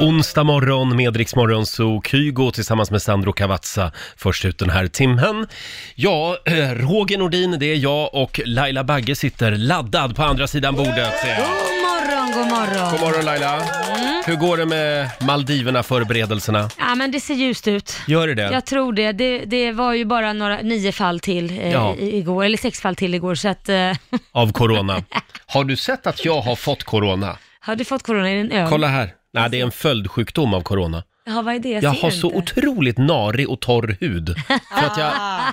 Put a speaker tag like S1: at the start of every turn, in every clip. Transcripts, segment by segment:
S1: Onsdag morgon med Rix Morgon Zoo, Kygo tillsammans med Sandro Cavazza först ut den här timmen. Ja, eh, Roger Nordin, det är jag och Laila Bagge sitter laddad på andra sidan bordet. ser jag.
S2: God morgon, god morgon. Mm.
S1: God morgon Laila! Hur går det med Maldiverna-förberedelserna?
S2: Ja, men det ser ljust ut.
S1: Gör det det?
S2: Jag tror det. det. Det var ju bara några, nio fall till eh,
S1: Ja.
S2: i- igår, eller sex fall till igår, så att... Eh,
S1: Av corona? Har du sett att jag har fått corona?
S2: har du fått corona i din öl?
S1: Kolla här! Nej, det är en följdsjukdom av corona.
S2: Ja, vad är det? Jag,
S1: Jag
S2: ser
S1: har så
S2: inte.
S1: otroligt narig och torr hud. För att jag,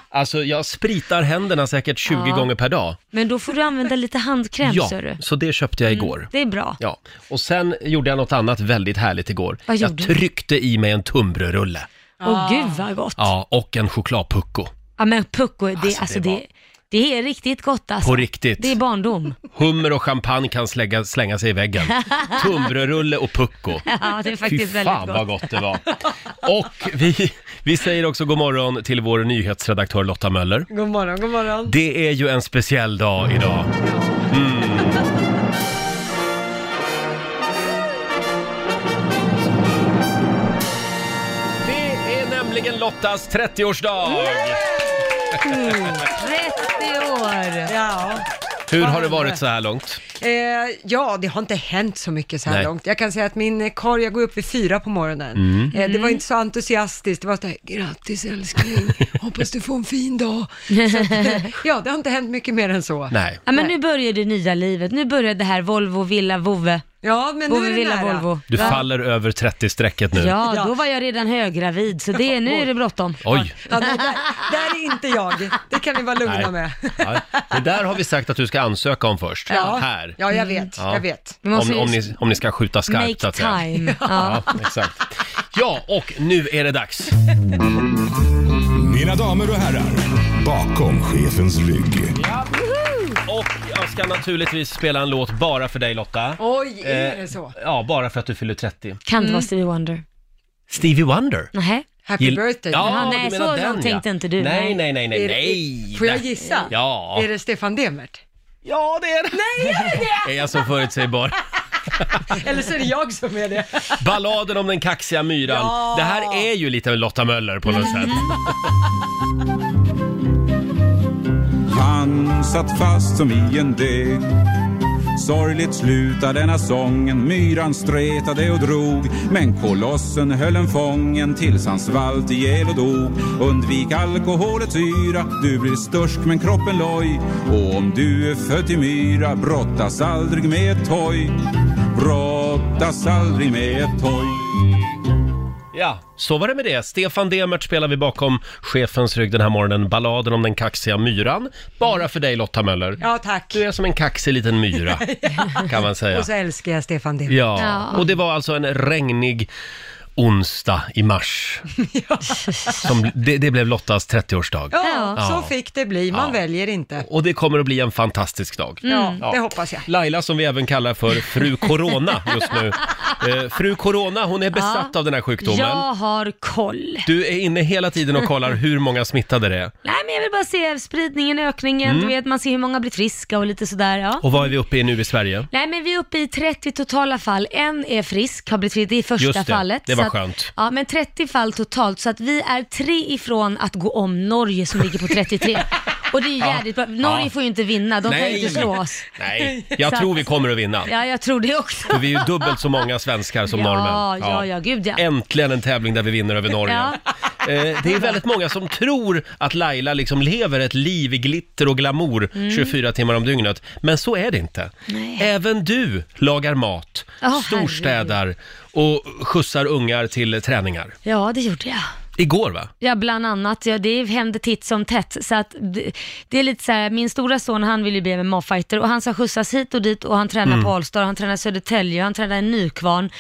S1: alltså, jag spritar händerna säkert 20
S2: Ja.
S1: gånger per dag.
S2: Men då får du använda lite handkräm,
S1: ja,
S2: ser du. Mm,
S1: så det köpte jag igår.
S2: Det är bra.
S1: Ja, och sen gjorde jag något annat väldigt härligt igår.
S2: Vad
S1: jag
S2: gjorde du?
S1: tryckte i mig en tunnbrödsrulle.
S2: Åh gud vad gott. Ja,
S1: Ja, och en chokladpucko.
S2: men pucko, det,
S1: Alltså,
S2: alltså,
S1: det
S2: det,
S1: var-
S2: det, är riktigt gott alltså.
S1: På riktigt.
S2: Det är barndom.
S1: Hummer och champagne kan slägga, slänga sig i väggen. Tunnbrödsrulle och pucko.
S2: Ja, det är
S1: Fy
S2: faktiskt väldigt
S1: fan
S2: gott.
S1: vad gott det var. Och vi, vi säger också god morgon till vår nyhetsredaktör Lotta Möller.
S3: God morgon, god morgon.
S1: Det är ju en speciell dag idag. Mm. Det är nämligen Lottas 30-årsdag!
S2: Mm, 30 år.
S3: Ja.
S1: Hur har det varit så här långt?
S3: Eh, ja, det har inte hänt så mycket så här
S1: Nej.
S3: långt. Jag kan säga att min eh, korg, jag går upp vid fyra på morgonen.
S1: Mm.
S3: Eh, det var inte så entusiastiskt, det var så här, grattis älskling, hoppas du får en fin dag. Så att, eh, ja, det har inte hänt mycket mer än så.
S1: Nej.
S2: Ja, men nu börjar det nya livet. Nu börjar det här Volvo, villa, vovve.
S3: Ja, men nu
S2: Vovve,
S3: är det
S2: villa,
S3: nära.
S2: Volvo.
S1: Du faller över 30-strecket nu.
S2: Ja,
S3: Ja.
S2: då var jag redan höggravid, så det, nu är det bråttom.
S1: Oj!
S3: Ja, nej, där, där är inte jag, det kan ni vara lugna med.
S1: Ja, det där har vi sagt att du ska ansöka om först. Här. Mm.
S3: Ja, jag vet,
S1: Ja.
S3: jag vet.
S2: Vi måste
S1: Om,
S2: ju-
S1: om, ni, om ni ska skjuta skarpt.
S2: Make
S1: att säga.
S2: time. Ja.
S1: Ja, exakt. Ja, och nu är det dags.
S4: Mina damer och herrar, bakom chefens rygg.
S1: Och jag ska naturligtvis spela en låt bara för dig Lotta. Eh,
S3: Oj, är det så?
S1: Ja, bara för att du fyller 30.
S2: Kan det vara Stevie Wonder?
S1: Stevie Wonder.
S2: Nähä?
S3: Mm. Happy
S1: Gill-
S3: birthday.
S1: Ja,
S2: Jaha,
S1: du
S2: nej,
S1: menar
S2: så
S1: den,
S2: långt
S1: ja.
S2: tänkte inte du,
S1: Nej,
S2: nej.
S1: nej, nej, nej,
S3: Är det-
S1: nej.
S3: Får jag
S1: Där-
S3: gissa?
S1: Ja.
S3: Är det Stefan Demert?
S1: Ja, det är det. Nej, det är jag så förutsägbar?
S3: Eller så är det jag som är det.
S1: Balladen om den kaxiga myran.
S3: Ja. Mm.
S1: Det här är ju lite Lotta Möller på något sätt.
S5: Han satt fast som i en deg Sorgligt slutade denna sången Myran stretade och drog Men kolossen höll en fången Tills han svalt ihjäl och dog Undvik alkoholets yra Du blir stursk men kroppen loj Och om du är född i myra Brottas aldrig med ett toj Brottas aldrig med ett toj
S1: Ja, så var det med det. Stefan Demert spelar vi bakom chefens rygg den här morgonen. Balladen om den kaxiga myran. Bara för dig Lotta Möller.
S3: Ja, tack.
S1: Du är som en kaxig liten myra, kan man säga.
S3: Och så älskar jag Stefan Demert.
S1: Ja.
S2: Ja.
S1: och det var alltså en regnig onsdag i mars. Som, det, det blev Lottas 30-årsdag.
S3: Ja,
S1: Ja.
S3: så fick det bli. Man
S1: Ja.
S3: väljer inte.
S1: Och det kommer att bli en fantastisk dag.
S3: Ja,
S2: Mm.
S1: Ja.
S3: Mm, det hoppas jag.
S1: Laila som vi även kallar för fru Corona just nu. Eh, fru Corona, hon är besatt av den här sjukdomen.
S2: Jag har koll.
S1: Du är inne hela tiden och kollar hur många smittade det är.
S2: Nej, men jag vill bara se spridningen, ökningen,
S1: Mm.
S2: du vet, man ser hur många blir friska och lite sådär. Ja.
S1: Och vad är vi uppe i nu i Sverige?
S2: Nej, men vi är uppe i 30 totala fall. En är frisk, har blivit frisk, det är första
S1: Just det,
S2: fallet.
S1: det var
S2: Så att,
S1: skönt.
S2: Ja, men 30 fall totalt, så att vi är tre ifrån att gå om Norge som ligger på 33. Och det är ju jävligt bra. Norge
S1: Ja.
S2: får ju inte vinna, de kan ju
S1: Nej.
S2: inte slå oss.
S1: Nej, jag
S2: Så att-
S1: tror vi kommer att vinna.
S2: Ja, jag tror det också.
S1: För vi är ju dubbelt så många svenskar som norrmän.
S2: Ja, ja, ja, gud ja.
S1: Äntligen en tävling där vi vinner över Norge.
S2: Ja.
S1: Eh, Det är väldigt många som tror att Laila liksom lever ett liv i glitter och glamour 24 timmar om dygnet. Men så är det inte.
S2: Mm. Nej.
S1: Även du lagar mat,
S2: Ja,
S1: storstädar och skjutsar ungar till träningar.
S2: Ja, det gjorde jag.
S1: Igår va?
S2: Ja, bland annat. Ja, det händer titt som tätt. Så att det, det är lite så här, min stora son han vill ju bli MMA-fighter och han ska skjutsas hit och dit och han tränar på Allstar, han tränar i Södertälje, han tränar i Nykvarn.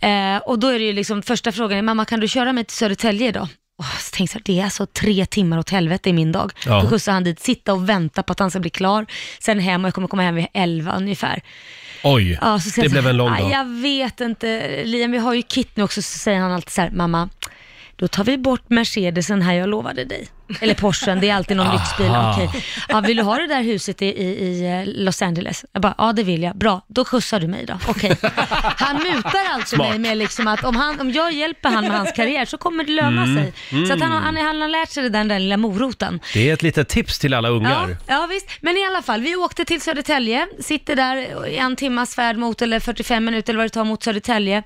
S2: Eh, och då är det ju liksom, första frågan är, mamma kan du köra mig till Södertälje idag? Åh, så tänkte jag, det är alltså tre timmar åt helvete i min dag.
S1: Ja.
S2: Då skjutsar han dit, sitta och vänta på att han ska bli klar, sen hem och jag kommer komma hem vid elva ungefär.
S1: Oj,
S2: Ja, så säger
S1: det
S2: han så här,
S1: blev en lång dag.
S2: "Aj, Jag vet inte, Liam, vi har ju Kit nu också, så säger han alltid så här, mamma, då tar vi bort Mercedesen här jag lovade dig. Eller Porschen, det är alltid någon
S1: Aha.
S2: lyxbil. Okej. Ja, vill du ha det där huset i, i, i eh, Los Angeles? Jag bara, ja det vill jag. Bra, då skjutsar du mig då. Okej. Han mutar alltså
S1: Smart.
S2: mig med liksom att om, han, om jag hjälper han med hans karriär så kommer det löna
S1: Mm.
S2: sig. Så att han, har- han, han har lärt sig det där, den där lilla moroten.
S1: Det är ett litet tips till alla
S2: Ja,
S1: ungar.
S2: ja, visst. Men i alla fall, vi åkte till Södertälje, sitter där i en timmas färd mot, eller 45 minuter eller vad det tar mot Södertälje.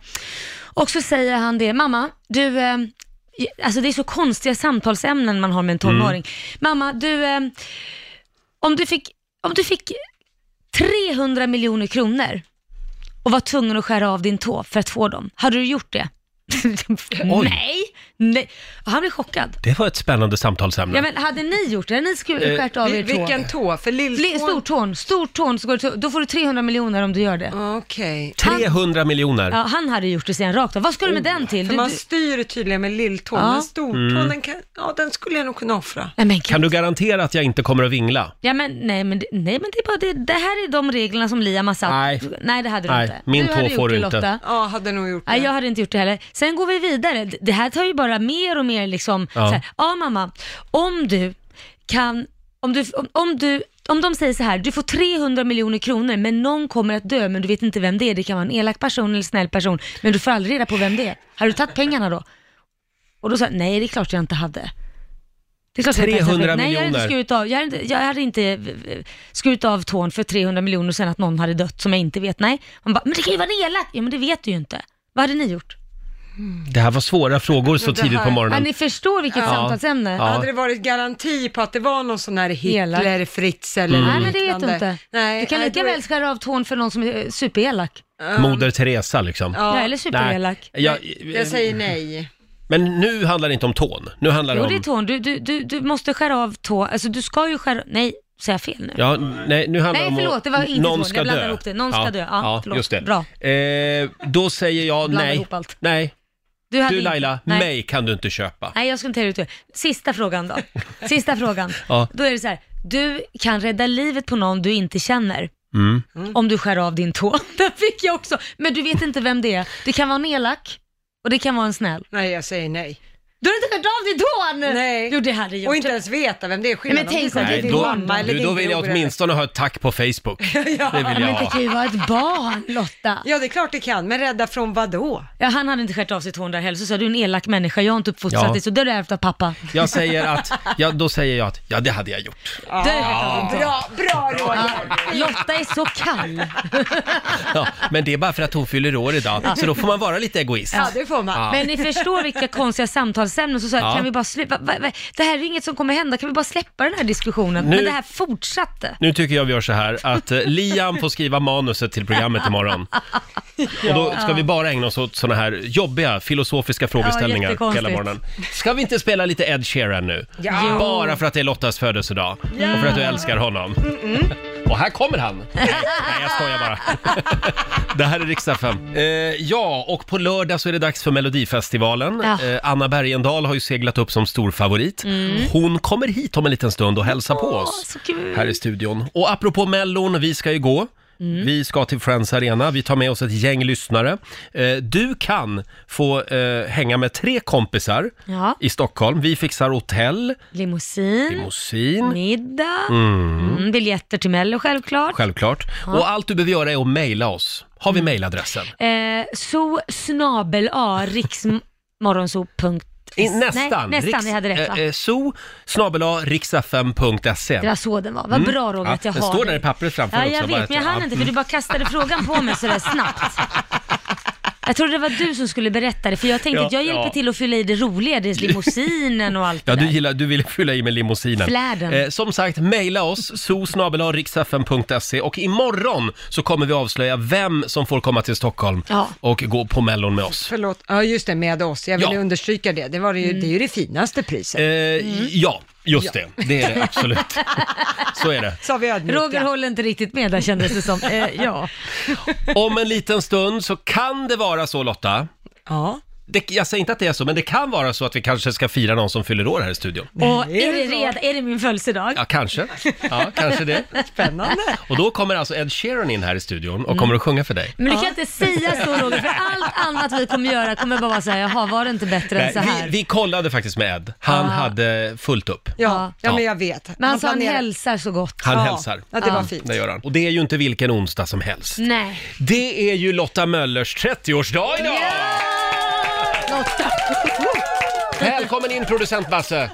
S2: Och så säger han det, mamma, du, eh, alltså det är så konstiga samtalsämnen man har med en tonåring. Mamma, du, eh, om du fick, om du fick 300 miljoner kronor och var tvungen att skära av din tå för att få dem, hade du gjort det? nej, nej. Och han blir chockad.
S1: Det var ett spännande samtalsämne.
S2: Ja, men hade ni gjort det? Hade ni skur- skärt av er
S3: Vil-
S2: tå?
S3: Eh, Vilken tå? För
S2: Li-
S3: lilltån?
S2: Stortån, stortån, så går det, då får du 300 miljoner om du gör det.
S3: Okej. Oh.
S1: 300 miljoner.
S2: Ja, han hade gjort det sen rakt av. Vad ska du med den till?
S3: För
S2: Du,
S3: man
S2: du...
S3: styr tydligen med lilltån,
S2: Ja.
S3: men stortån,
S1: Mm.
S3: den, kan, ja, den skulle jag nog kunna offra.
S2: Nej, men, gud.
S1: Kan du garantera att jag inte kommer att vingla?
S2: ja, men, nej, men, det- nej men det är bara det, det här är de reglerna som Liam har satt.
S1: Nej.
S2: nej det hade du
S1: Nej,
S2: inte.
S1: min
S2: du
S1: tå
S2: hade gjort
S1: får
S2: det,
S1: du inte.
S2: Lotta.
S3: Ja, hade nog gjort det.
S2: Nej, jag hade inte gjort det heller. Sen går vi vidare. D- Det här tar ju bara mer och mer liksom,
S1: Ja.
S2: ja, så här, ja mamma, om du kan, om du, om, om du om de säger så här, du får 300 miljoner kronor men någon kommer att dö men du vet inte vem det är. Det kan vara en elak person eller en snäll person men du får aldrig reda på vem det är. Har du tagit pengarna då? Och då sa jag, nej det är klart jag inte hade. Det är klart jag inte hade
S1: 300
S2: Nej, jag hade inte
S1: miljoner.
S2: skurit av, jag hade, inte- jag hade inte eh, skurit av tån för 300 miljoner och sen att någon hade dött som jag inte vet. Nej, man bara, men det kan ju vara en elak. Ja men det vet du ju inte. Vad hade ni gjort?
S1: Det här var svåra frågor så
S3: Men det
S1: tidigt på
S3: här-
S2: Ja,
S1: morgonen.
S2: ni förstår vilket samtalsämne.
S1: Ja.
S3: Hade det varit garanti på att det var någon sån här Hitler,
S2: Elak.
S3: Fritz
S1: Mm.
S3: eller
S2: Nej, men det vet
S3: liknande?
S2: du inte.
S3: Nej,
S2: du kan
S3: nej,
S2: lika
S3: då är-
S2: väl skära av tån för någon som är eh, superelak.
S1: Moder Teresa liksom.
S2: Ja.
S3: Ja,
S2: eller superelak.
S1: jag,
S3: jag säger nej.
S1: men nu handlar det inte om tån. Nu handlar det
S2: Jo, det är
S1: Mm. om...
S2: tån. Du, du, du, du måste skära av tå. Alltså, du ska ju skära... Nej, säger jag fel nu?
S1: Ja, nej, nu handlar
S2: Nej,
S1: om att
S2: förlåt, det var inte
S1: någon
S2: tån. Jag
S1: ska
S2: blandar
S1: dö.
S2: ihop det. Någon ska dö. Ja, förlåt.
S1: just det.
S2: Bra.
S1: Eh, då säger jag
S2: Blandar
S1: nej.
S2: ihop allt.
S1: Nej,
S2: hade
S1: du
S2: inte-
S1: Laila,
S2: nej.
S1: mig kan du inte köpa.
S2: Nej, jag ska inte ta ut det. Sista frågan då. Sista frågan.
S1: Ja.
S2: Då är det så här. Du kan rädda livet på någon du inte känner.
S1: Mm.
S2: Om du skär av din tå. Den fick jag också. Men du vet inte vem det är. Det kan vara en elak och det kan vara en snäll.
S3: Nej, jag säger nej.
S2: Du har inte skärt av din tå!
S3: Nej.
S2: Jo, det hade jag
S3: Och
S2: gjort.
S3: inte ens veta vem det är. Skillnad
S2: Nej, men
S3: om
S2: tänk
S3: det är
S2: om det är
S1: Nej,
S2: din
S3: din
S1: då,
S3: mamma eller
S1: du,
S3: din
S1: då vill jag
S3: bror eller-
S1: åtminstone ha ett tack på Facebook. Det vill jag
S2: Men det
S1: ha.
S2: kan ju vara ett barn, Lotta.
S3: Ja, det är klart det kan, men rädda från vad då?
S2: Ja, han hade inte skärt av sitt hår där heller, så sa du är en elak människa, jag har inte uppfostrat
S1: Ja.
S2: dig, så det har du ärvt av pappa.
S1: Jag säger att, ja, då säger jag att, ja det hade jag gjort.
S2: Du har ju skärt av din tå.
S3: Bra, bra Roger!
S2: Ja, Lotta är så kall.
S1: Ja, men det är bara för att hon fyller år idag, så då får man vara lite egoist.
S3: Ja, det får man.
S2: Men ni förstår vilka konstiga samtalsämnen, så, så här,
S1: Ja.
S2: kan vi bara sluta, va, va, det här är inget som kommer hända, kan vi bara släppa den här diskussionen?
S1: Nu-
S2: Men det här fortsatte.
S1: Nu tycker jag vi gör så här att eh, Liam får skriva manuset till programmet imorgon. Och då ska vi bara ägna oss åt såna här jobbiga filosofiska frågeställningar
S2: jättekonstigt.
S1: hela morgonen. Ska vi inte spela lite Ed Sheeran nu?
S3: Ja.
S1: Bara för att det är Lottas födelsedag och för att du älskar honom. Och här kommer han! Nej, nej, jag skojar bara. det här är riksdag 5. Eh, ja, och på lördag så är det dags för Melodifestivalen.
S2: Ja.
S1: Eh, Anna Bergendahl har ju seglat upp som storfavorit. Hon kommer hit om en liten stund och hälsar på oss
S2: så kul.
S1: här i studion. Och apropå Mellon, vi ska ju gå. Vi ska till Friends Arena, vi tar med oss ett gäng lyssnare. Eh, du kan få eh, hänga med tre kompisar
S2: Ja.
S1: i Stockholm. Vi fixar hotell,
S2: Limousin,
S1: limousin,
S2: middag, mm, biljetter till Mello självklart.
S1: självklart. Och allt du behöver göra är att mejla oss. Har vi
S2: Mm.
S1: mejladressen?
S2: Eh, so snabel a riksmorgonso.se
S1: I- Nästan. Eh,
S2: Nej, nästan, vi hade rätt va?
S1: so snabela riksfm.se.
S2: Det var så den var. Vad bra Roger att jag
S1: den
S2: har
S1: Mm. står
S2: dig.
S1: där i pappret framför
S2: Ja,
S1: också.
S2: jag
S1: bara
S2: vet,
S1: att- Mm.
S2: men jag hann
S1: ja.
S2: inte för du bara kastade frågan på mig sådär snabbt. Jag trodde det var du som skulle berätta det, för jag tänkte
S1: Ja,
S2: att jag hjälper
S1: ja.
S2: till att fylla i det roliga, det är limousinen och allt
S1: Ja,
S2: det
S1: du,
S2: där.
S1: gillar, du vill fylla i med limousinen. Eh,
S2: Fläden.
S1: som sagt, mejla oss, zoosnabelariksfm.se och imorgon så kommer vi avslöja vem som får komma till Stockholm
S2: Ja.
S1: och gå på Mellon med oss.
S3: Förlåt, ja just det, med oss. Jag ville
S1: Ja.
S3: understryka det. Det, var ju,
S2: Mm.
S3: det är ju det finaste priset.
S1: Eh, Ja, just det. Det är det absolut. så är det.
S3: Sa vi ödmjukt,
S2: Roger
S3: ja.
S2: håller inte riktigt med där kändes det som. Eh, ja.
S1: Om en liten stund så kan det vara så Lotta,
S3: ja.
S1: det, jag säger inte att det är så, men det kan vara så att vi kanske ska fira någon som fyller år här i studion.
S2: Och är det, red, är det min födelsedag?
S1: Ja, kanske. Ja, kanske det.
S3: Spännande.
S1: Och då kommer alltså Ed Sheeran in här i studion
S3: Mm.
S1: och kommer att sjunga för dig.
S2: Men du kan inte säga så Roger, för allt annat vi kommer göra kommer bara vara såhär, jaha var det inte bättre än så
S1: Nej,
S2: här?
S1: vi, vi kollade faktiskt med Ed.
S3: Ah.
S1: Han hade fullt upp.
S2: Ja.
S3: Ja,
S1: Ja.
S3: ja, men jag vet.
S2: Men alltså han
S3: planerar-
S2: hälsar så gott.
S1: Han
S3: Ja,
S1: hälsar. Mm.
S3: Ja, det
S2: Ja.
S3: var fint. Mm.
S1: Det gör han. Och det är ju inte vilken onsdag som helst.
S2: Nej.
S1: Det är ju Lotta Möllers 30-årsdag idag!
S2: Lotta.
S1: Välkommen in producent Basse!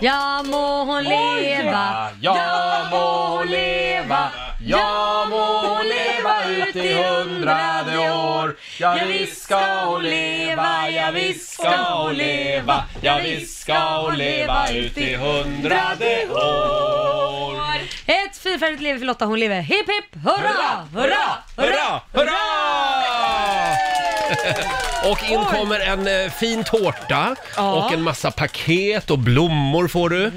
S2: Ja må hon leva,
S1: Ja må hon leva,
S2: ja må hon leva ut i hundrade år. Ja, visst ska hon leva, ja, visst ska hon leva, ja, visst ska hon leva ut i
S1: hundrade år.
S2: Ett fyrfärdigt lever för Lotta, hon lever. Hipp hipp hurra, hurra, hurra!
S1: Hurra, hurra! Och in kommer en eh, fin tårta och en massa paket och blommor får du.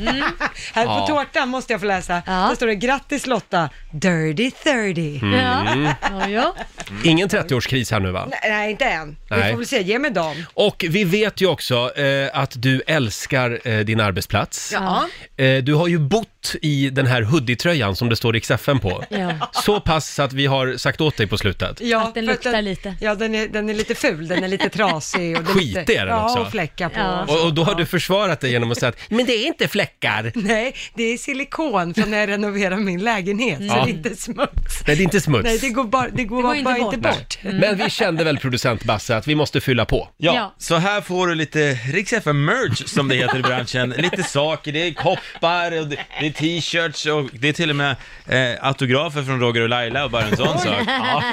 S3: Här
S1: Ja.
S3: på tårtan måste jag få läsa.
S2: Mm. Ja.
S3: Där står det grattis Lotta, dirty 30.
S1: Mm.
S2: Ja, ja, ja.
S1: Ingen 30-årskris här nu va?
S3: Nej, inte än.
S1: Nej.
S3: Vi får väl se, ge mig dem.
S1: Och vi vet ju också eh, att du älskar eh, din arbetsplats.
S3: Ja.
S1: Eh, du har ju bott i den här hoodie-tröjan som det står XFN på.
S2: Ja.
S1: Så pass att vi har sagt åt dig på slutet.
S3: Ja,
S2: Att den
S3: för
S2: luktar lite.
S3: Ja, den är, den är lite ful, den är lite trasig. Och den
S1: Skitig
S3: lite,
S1: är den också.
S3: Ja, och fläckar på.
S2: Ja.
S1: Och, och då har du försvarat dig genom att säga att men det är inte fläckar.
S3: Nej, det är silikon från när jag renoverar min lägenhet, så
S1: Ja.
S3: det är inte smuts.
S1: Nej, det är inte smuts.
S3: Nej, det går bara, det går
S2: går inte
S3: bara
S2: bort.
S3: inte
S1: Nej.
S3: bort.
S1: Men vi kände väl producent Basse att vi måste fylla på.
S6: Ja,
S2: Ja.
S6: så här får du lite Rix FM merch som det heter i branschen. Lite saker, det är koppar, och det, det är t-shirts och det är till och med eh, autografer från Roger och Laila och bara en sån sak. Ja.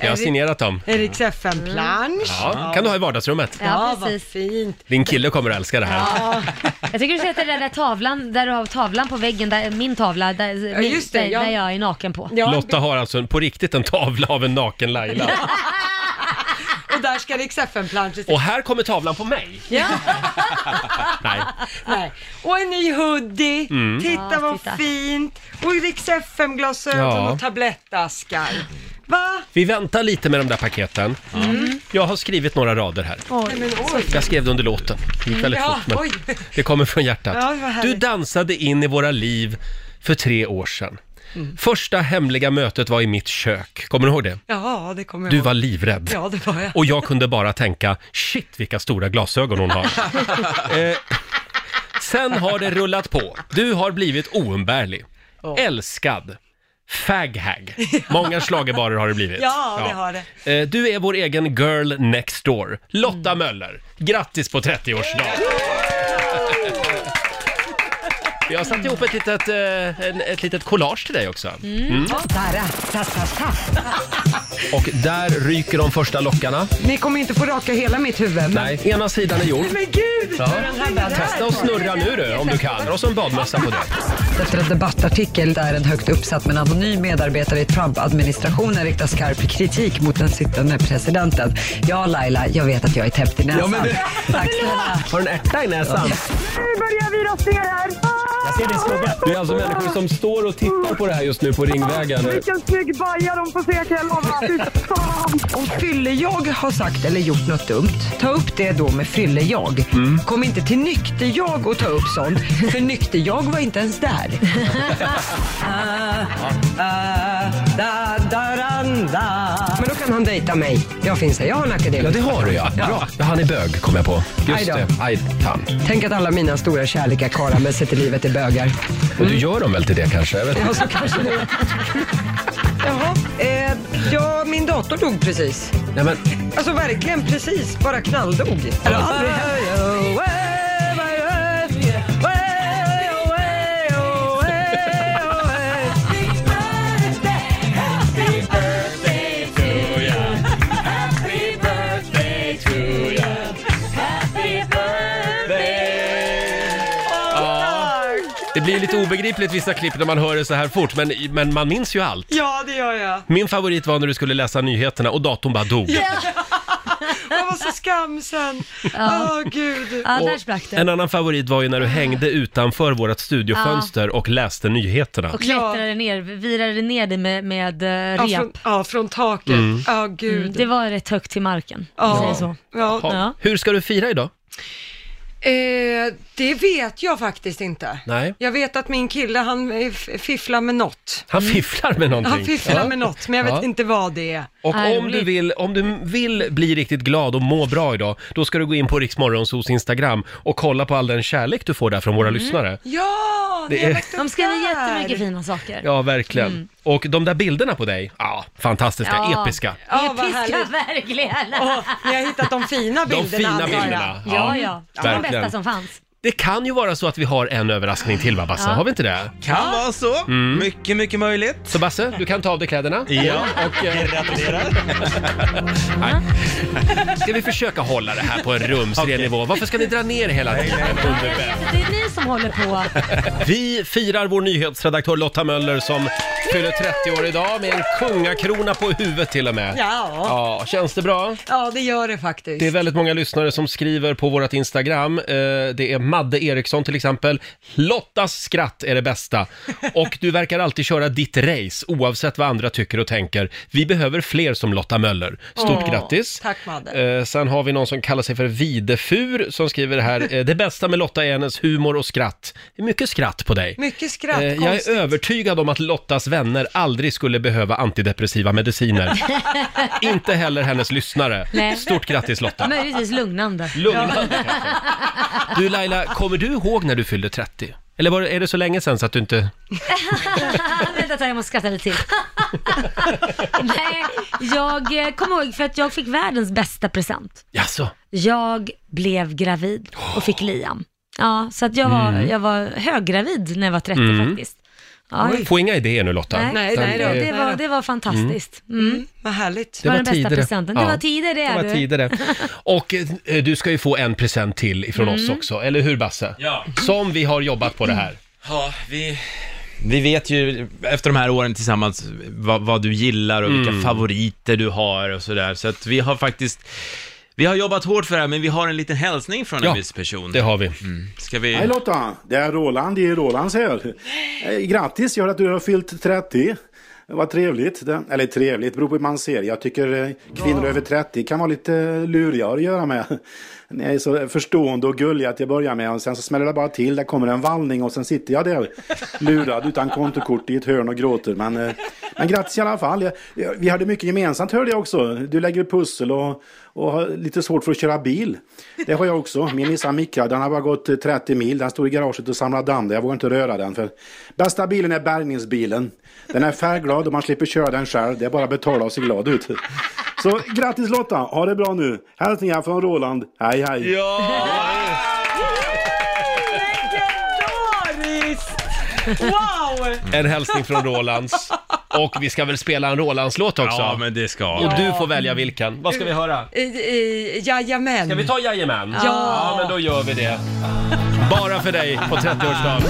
S1: Jag har signerat dem.
S3: Eriks FN-plansch.
S1: Ja, kan du ha i vardagsrummet.
S2: Ja,
S3: vad
S2: precis.
S3: fint.
S1: Din kille kommer att älska det här.
S2: Jag tycker du sätter den där tavlan, där du har tavlan på väggen, där, min tavla, där, min,
S3: just det,
S2: där,
S3: ja.
S2: där jag är naken på.
S3: Ja,
S1: Lotta har alltså en, på riktigt en tavla av en naken Laila.
S3: och där ska Eriks FN-plansch
S1: Och här kommer tavlan på mig.
S3: Ja.
S1: Nej. Mm.
S3: Nej. Och en ny hoodie. Titta
S2: Ja,
S3: vad
S2: titta.
S3: fint. Och Riks FM-glasögon
S1: Ja.
S3: och tablettaskar. Va?
S1: Vi väntar lite med de där paketen.
S3: Mm.
S1: Jag har skrivit några rader här.
S3: Nej, men oj.
S1: Jag skrev det under låten. Det gick väldigt
S3: Ja,
S1: fort, men
S3: oj.
S1: det kommer från hjärtat.
S3: Ja, vad härligt.
S1: du dansade in i våra liv för tre år sedan. Första hemliga mötet var i mitt kök. Kommer du ihåg det?
S3: Ja, det kommer jag
S1: Du
S3: ihåg.
S1: var livrädd.
S3: Ja, det var jag.
S1: Och jag kunde bara tänka, shit vilka stora glasögon hon har. eh, sen har det rullat på. Du har blivit oumbärlig. Älskad. Faghag. Många schlagerbarer har det blivit.
S3: Ja, det Mm. har
S1: det. Eh, du är vår egen girl next door. Lotta Möller. Grattis på 30-årsdagen. Jag har satt ihop ett litet, eh, en- ett litet collage till dig också.
S3: Mm,
S1: Mm. Och där ryker de första lockarna.
S3: Ni kommer inte få raka hela mitt huvud.
S1: Nej, ena sidan är gjord.
S3: Men gud!
S1: Ja.
S3: Den här bädden.
S1: Testa och snurra nu du, om du kan. Och så en badmössa på det.
S7: Efter en debattartikel där en högt uppsatt men anonym medarbetare i Trump-administrationen riktar skarp kritik mot den sittande presidenten. Ja, Laila, jag vet att jag är täppt i näsan. Ja, men Tack snälla.
S1: Har du en ärta i näsan?
S8: Ser din skugga?
S1: Det är alltså människor som står och tittar på det här just nu på Ringvägen.
S8: Vilken snygg baja de får se kan jag lova. Fy fan.
S7: Om fylle-jag har sagt eller gjort något dumt, ta upp det då med fylle-jag.
S1: Mm.
S7: Kom inte till nykter-jag och ta upp sånt, för nykter-jag var inte ens där. Ah, ah, da, da, ran, da. Men då kan han dejta mig. Jag finns här, jag har en akademiker.
S1: Ja, det har du ja. Bra. Ja, han är bög, kom jag på. Just
S7: Aj då.
S1: det. Aj, fan.
S7: Tänk att alla mina stora kärlekar karlar med sig till livet är bögar.
S1: Och du gör dem väl till det kanske? Jag vet inte.
S7: Ja, så kanske det är. Jaha, eh, ja, min dator dog precis.
S1: Nej, men,
S7: Alltså verkligen precis, bara knalldog. Eller aldrig hänt.
S1: det blir lite obegripligt vissa klipp när man hör det så här fort, men, men man minns ju allt.
S3: Ja, det gör jag.
S1: Oh. Min favorit var när du skulle läsa nyheterna och datorn bara dog.
S3: Jag var så skamsen. Åh gud.
S2: Ja, där
S1: Och
S2: sprack det.
S1: En annan favorit var ju när du hängde utanför vårt studiofönster och läste nyheterna.
S2: Och klättrade ner, virade ner det med, med eh,
S3: Ja,
S2: rep. Mm,
S3: från, ja, från taket.
S1: Mm.
S3: Ja, gud.
S2: Det var rätt högt till marken, om vi
S3: ja.
S2: säger så.
S3: Ja.
S1: Ha,
S2: Ja.
S1: Hur ska du fira idag?
S3: Eh, det vet jag faktiskt inte.
S1: Nej.
S3: Jag vet att min kille, han eh, f- fifflar med något.
S1: Han fifflar med någonting.
S3: Han fifflar
S1: Ja.
S3: med något, men jag vet
S1: Ja.
S3: inte vad det är.
S1: Och
S2: Nej,
S1: om du,
S2: roligt.
S1: vill, om du vill bli riktigt glad och må bra idag, då ska du gå in på Riksmorgonsos Instagram och kolla på all den kärlek du får där från våra
S2: Mm.
S1: lyssnare.
S3: Mm. Ja,
S1: Det
S3: det
S1: är-
S3: är...
S2: De skriver jättemycket fina saker.
S1: Ja, verkligen. Och de där bilderna på dig, ja, fantastiska,
S2: Mm. Ja.
S1: episka.
S3: Ja, vad
S2: Episka,
S3: härligt.
S2: verkligen!
S3: Åh, ni har hittat de fina
S1: De
S3: bilderna.
S1: fina
S3: antar jag.
S1: bilderna.
S2: Ja, ja. Det var de
S1: verkligen.
S2: bästa som fanns.
S1: Det kan ju vara så att vi har en överraskning till, va, Basse?
S2: Ja.
S1: Har vi inte det? Mm.
S6: Kan vara så. Mycket, mycket möjligt.
S1: Så Basse, du kan ta av dig kläderna. eh,
S6: Ja, och gratulerar.
S1: Ska vi försöka hålla det här på en rumsren
S6: Okej.
S1: nivå? Varför ska ni dra ner hela tiden?
S2: Det är ni som håller på.
S1: Vi firar vår nyhetsredaktör Lotta Möller som fyller 30 år idag med en kungakrona på huvudet till och med.
S3: Ja.
S1: Ja, känns det bra?
S3: ja, det gör det faktiskt.
S1: Det är väldigt många lyssnare som skriver på vårt Instagram. Eh, Det är Madde Eriksson till exempel. Lottas skratt är det bästa. Och du verkar alltid köra ditt race oavsett vad andra tycker och tänker. Vi behöver fler som Lotta Möller. Stort
S2: Åh,
S1: grattis!
S3: tack, Madde.
S1: Eh, Sen har vi någon som kallar sig för Videfur som skriver här. eh, Det bästa med Lotta är hennes humor och skratt. Det är mycket skratt på dig.
S3: Mycket skratt,
S1: Eh, Jag
S3: konstigt.
S1: är övertygad om att Lottas vänner aldrig skulle behöva antidepressiva mediciner. Inte heller hennes lyssnare.
S2: Nej.
S1: Stort grattis Lotta!
S2: Möjligtvis lugnande.
S1: Lugnande. Du Laila, kommer du ihåg när du fyllde 30? Eller var, det- är det så länge sedan så att du inte...
S2: Vänta ett tag, jag måste skratta lite till. Nej, jag eh, kommer ihåg för att jag fick världens bästa present.
S1: Jaså?
S2: Jag blev gravid och fick Liam. Ja, så att jag var, jag var höggravid när jag var 30 faktiskt. Ja, jag-
S1: Få Mm. inga idéer nu Lotta.
S2: nej,
S3: Nej, nej
S2: det,
S3: då.
S2: det,
S3: Nej
S2: var,
S3: då.
S2: det var fantastiskt. Mm.
S3: Mm. Vad härligt.
S2: Det var,
S1: var
S2: den bästa
S1: tidigare.
S2: presenten. Det
S1: Ja.
S2: var tidigare det,
S1: Det var
S2: du.
S1: tidigare. Och eh, du ska ju få en present till ifrån oss
S2: Mm.
S1: också, eller hur Basse?
S6: Ja.
S1: Som vi har jobbat på det här. Ja,
S6: Vi, vi vet ju efter de här åren tillsammans vad, vad du gillar och vilka
S1: Mm.
S6: favoriter du har och sådär. Så att vi har faktiskt, vi har jobbat hårt för det här, men vi har en liten hälsning från
S1: Ja,
S6: en viss person. Mm.
S1: det har vi.
S6: Ska vi...
S9: Hej Lotta! Det är Roland i Rolands här. Eh, Grattis, gör att du har fyllt 30. Vad trevligt. Det- Eller trevligt, beror på hur man ser. Jag tycker eh, kvinnor över 30 kan vara lite eh, luriga att göra med. Ni är så förstående och gulliga till att börja med och sen så smäller det bara till. Det kommer en vallning och sen sitter jag där lurad utan kontokort i ett hörn och gråter. Men, eh, men grattis i alla fall. Jag- jag- Vi hade mycket gemensamt hörde jag också. Du lägger pussel och, och har lite svårt för att köra bil. Det har jag också. Min Nissan Micra, den har bara gått eh, 30 mil. Den står i garaget och samlar damm. där. Jag vågar inte röra den. För bästa bilen är bärgningsbilen. Den är färgglad och man slipper köra den själv. Det är bara att betala och se glad ut. Så grattis Lotta, ha det bra nu. Hälsningar från Roland. Hej hej!
S3: Legendariskt! Wow!
S1: En hälsning från Rolands. Och vi ska väl spela en Rolandslåt också?
S6: Ja, men det ska
S1: Och du får välja vilken. Vad ska vi höra?
S3: I, i, jajamän.
S1: Ska vi ta Jajamän?
S3: Ja.
S1: ja, men då gör vi det. Bara för dig på 30-årsdagen.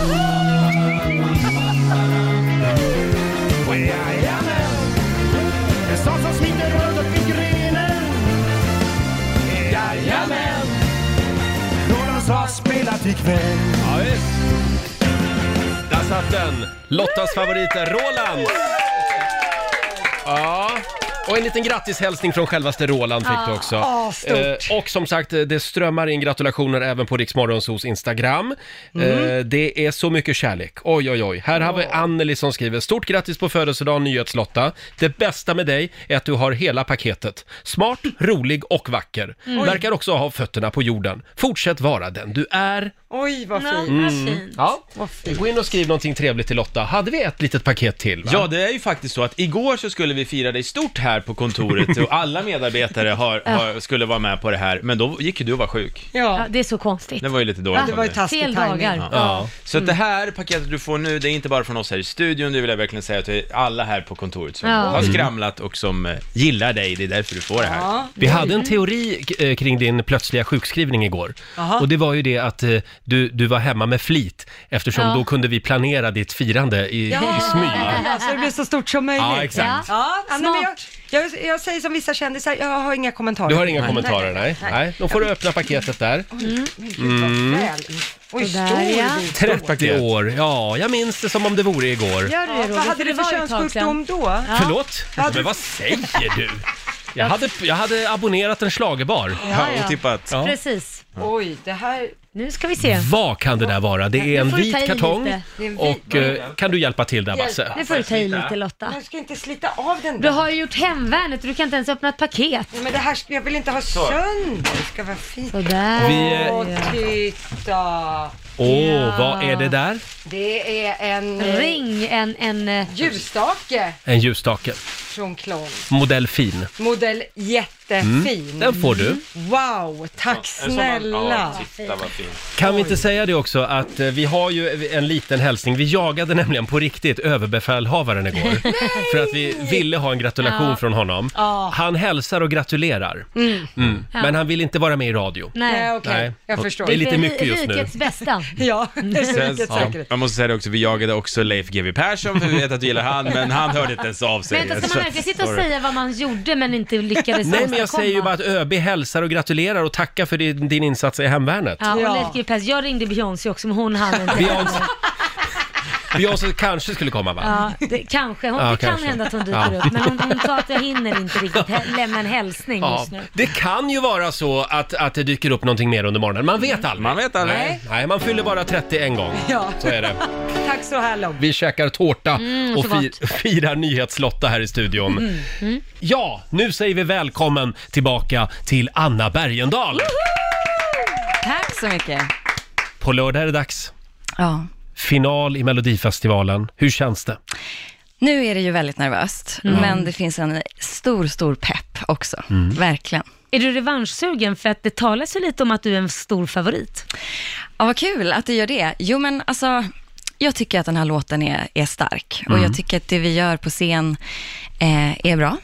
S1: Där satt den! Lottas favoriter Roland! Ja, och en liten grattishälsning från självaste Roland fick du också.
S3: Ah, stort.
S1: Eh, och som sagt, eh, det strömmar in gratulationer även på Riksmorgonsos Instagram.
S3: Mm.
S1: Eh, det är så mycket kärlek. Oj, oj, oj. Här har vi Anneli som skriver, stort grattis på födelsedagen Nyhetslotta. Det bästa med dig är att du har hela paketet. Smart, rolig och vacker.
S3: Mm.
S1: Verkar också ha fötterna på jorden. Fortsätt vara den du är.
S3: Oj, vad
S2: Ja,
S3: fint.
S2: vad fint.
S1: Mm. Ja,
S3: Vad fint.
S1: gå in och skriv någonting trevligt till Lotta. Hade vi ett litet paket till? Va?
S6: Ja, det är ju faktiskt så att igår så skulle vi fira dig stort här på kontoret och alla medarbetare har, har, skulle vara med på det här, men då gick ju du och var sjuk.
S2: Ja,
S3: Ja,
S2: det är så konstigt.
S6: Det var ju lite dåligt.
S2: Va?
S3: det var ju
S6: av dig.
S3: taskig
S2: Fel
S3: timing. Mm.
S2: dagar.
S1: Ja.
S6: Så att det här paketet du får nu, det är inte bara från oss här i studion, det vill jag verkligen säga till alla här på kontoret som
S2: Ja.
S6: har skramlat och som eh, gillar dig, det är därför du får det här.
S3: Mm. Ja.
S1: Vi hade en teori eh, kring din plötsliga sjukskrivning igår.
S3: Jaha.
S1: Och det var ju det att eh, du, du var hemma med flit eftersom
S2: Ja.
S1: då kunde vi planera ditt firande i, i smyg.
S3: Ja, så det blir så stort som möjligt.
S1: Ja, exakt.
S3: Ja, ja, men jag,
S2: Snart.
S3: Jag, jag säger som vissa kändisar, jag har inga kommentarer.
S1: Du har inga kommentarer, nej. nej. Då får du öppna paketet där. Mm.
S3: Oj,
S2: Sådär,
S3: stor
S2: ja.
S3: bit.
S1: 30 år, ja, jag minns det som om det vore igår.
S2: Gör du det
S3: Ja,
S2: Roger?
S3: vad hade du
S2: det
S3: för
S2: var ett tag
S3: könssjukdom
S2: sedan.
S3: då?
S2: Ja.
S1: Förlåt?
S3: Ja, du-
S1: Men vad säger du? Jag hade, jag hade abonnerat en schlagerbar.
S2: Ja, ja.
S6: Otippat.
S1: Ja.
S2: Precis.
S3: Oj, det här...
S2: Nu ska vi se.
S1: Vad kan det där vara? Det är
S2: Nu
S1: en
S2: får du ta
S1: vit
S2: i
S1: kartong
S2: lite.
S3: Det är en vit-
S1: och eh, kan du hjälpa till där Basse?
S2: Nu får du ta i lite Lotta.
S3: Jag ska inte slita av den
S2: Du
S3: där.
S2: har ju gjort hemvärnet, du kan inte ens öppna ett paket.
S3: Nej, men det här, ska- jag vill inte ha sönder. Det ska vara fint.
S2: Sådär.
S1: Vi, eh,
S3: Åh, titta!
S1: Åh, vad är det där?
S3: Det är en eh,
S2: Ring en, en... eh,
S3: ljusstake
S1: En ljusstake.
S3: från Klon.
S1: Modell fin.
S3: Modell jättefin.
S1: Mm. Den får du.
S3: Wow, tack snälla!
S6: titta vad fint.
S1: Kan vi inte säga det också att eh, vi har ju en liten hälsning. Vi jagade nämligen på riktigt överbefälhavaren igår. för att vi ville ha en gratulation
S2: Ja.
S1: från honom.
S2: Ja.
S1: Han hälsar och gratulerar. Mm.
S2: Ja.
S1: Men han vill inte vara med i radio.
S3: Nej,
S2: Nej.
S3: okej. Jag
S1: Och
S3: förstår.
S1: Det är lite
S2: ri-
S1: mycket just nu.
S2: Rikets bästa. Mm.
S3: Ja, det är
S6: Sen,
S3: riktigt
S6: ja,
S3: säkert.
S6: man måste säga det också, vi jagade också Leif GW Persson för vi vet att du gillar han, men han hörde inte ens av sig.
S2: Vänta, ska man verkligen sitta och
S6: Sorry.
S2: säga vad man gjorde men inte lyckades
S1: Nej, men jag
S2: åstadkomma?
S1: säger ju bara att ÖB hälsar och gratulerar och tackar för din, din insats i hemvärnet.
S2: Ja, och
S3: Ja.
S2: Leif GW Persson. Jag ringde Beyoncé också, men hon hann inte.
S1: Beyoncé, Beyoncé kanske skulle komma, va?
S2: Ja, det, kanske. Hon,
S1: Ja,
S2: det
S1: kanske.
S2: kan hända att hon dyker
S1: Ja.
S2: upp, men hon, hon sa att jag hinner inte riktigt he- lämna en hälsning
S1: Ja,
S2: just nu.
S1: det kan ju vara så att, att det dyker upp någonting mer under morgonen. Man vet aldrig.
S6: Mm. Man vet aldrig.
S1: Nej, nej, man fyller bara 30 en gång.
S3: Ja.
S1: Så är det.
S3: Tack så här långt.
S1: Vi käkar tårta och
S2: så
S1: fir, firar nyhetslotta här i studion.
S3: Mm.
S1: Ja, nu säger vi välkommen tillbaka till Anna Bergendahl.
S10: Tack så mycket.
S1: På lördag är det dags.
S10: Ja.
S1: Final i Melodifestivalen. Hur känns det?
S10: Nu är det ju väldigt nervöst, men det finns en stor, stor pepp också. Verkligen.
S2: Är du revanschsugen? För att det talas ju lite om att du är en stor favorit.
S10: Ja, vad kul att du gör det. Jo, men alltså, jag tycker att den här låten är, är stark och jag tycker att det vi gör på scen eh, är bra.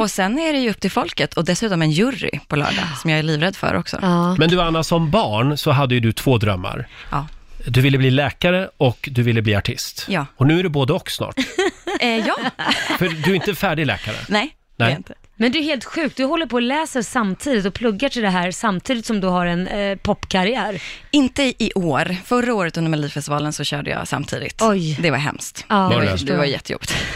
S10: Och sen är det ju upp till folket och dessutom en jury på lördag som jag är livrädd för också.
S2: Ja.
S1: Men du Anna, som barn så hade ju du två drömmar.
S10: Ja.
S1: Du ville bli läkare och du ville bli artist.
S10: Ja.
S1: Och nu är du både och snart.
S10: Eh, ja.
S1: För du är inte färdig läkare.
S10: Nej, det är
S1: Nej.
S10: jag inte.
S2: Men du är helt sjuk. Du håller på och läser samtidigt och pluggar till det här samtidigt som du har en eh, popkarriär.
S10: Inte i år. Förra året under Melodifestivalen så körde jag samtidigt.
S2: Oj.
S10: Det var hemskt.
S2: Ja,
S10: det,
S1: jag
S10: var,
S2: förstår.
S10: det var jättejobbigt.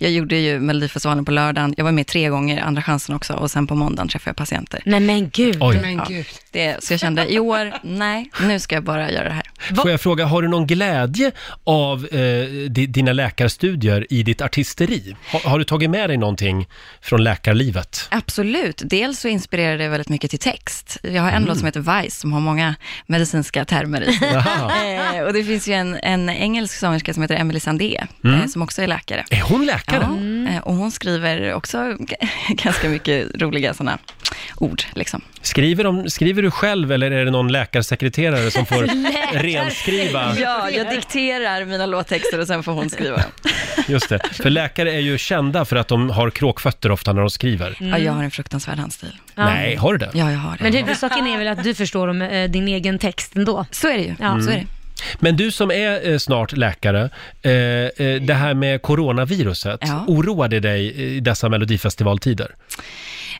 S10: Jag gjorde ju Melodifestivalen på lördagen. Jag var med tre gånger, andra chansen också, och sen på måndagen träffade jag patienter.
S2: Nej men gud.
S1: Oj.
S10: Det, så jag kände, i år, nej, nu ska jag bara göra det här.
S1: Får jag fråga, har du någon glädje av eh, di- dina läkarstudier i ditt artisteri? Har, har du tagit med dig någonting från läkarlivet?
S10: Absolut. Dels så inspirerar det väldigt mycket till text. Jag har en
S1: Mm.
S10: låt som heter Vice, som har många medicinska termer i sig.
S1: Jaha.
S10: Eh, och det finns ju en, en engelsk sångerska som heter Emily Sandé, eh, som också är läkare.
S1: Mm. Är hon läkare?
S10: Ja, eh, och hon skriver också g- ganska mycket roliga sådana ord. Liksom.
S1: Skriver, de, skriver du själv eller är det någon läkarsekreterare som får renskriva?
S10: Ja, jag dikterar mina låttexter och sen får hon skriva dem.
S1: Just det. För läkare är ju kända för att de har kråkfötter ofta när de skriver.
S10: Ja, jag har en fruktansvärd handstil.
S1: Nej, har du det?
S10: Ja, jag har det.
S2: Men huvudsaken är väl att du förstår om eh, din egen text ändå.
S10: Så är det ju. Så är det.
S1: Men du som är eh, snart läkare, eh, eh, det här med coronaviruset,
S10: Ja.
S1: oroar det dig i dessa melodifestivaltider?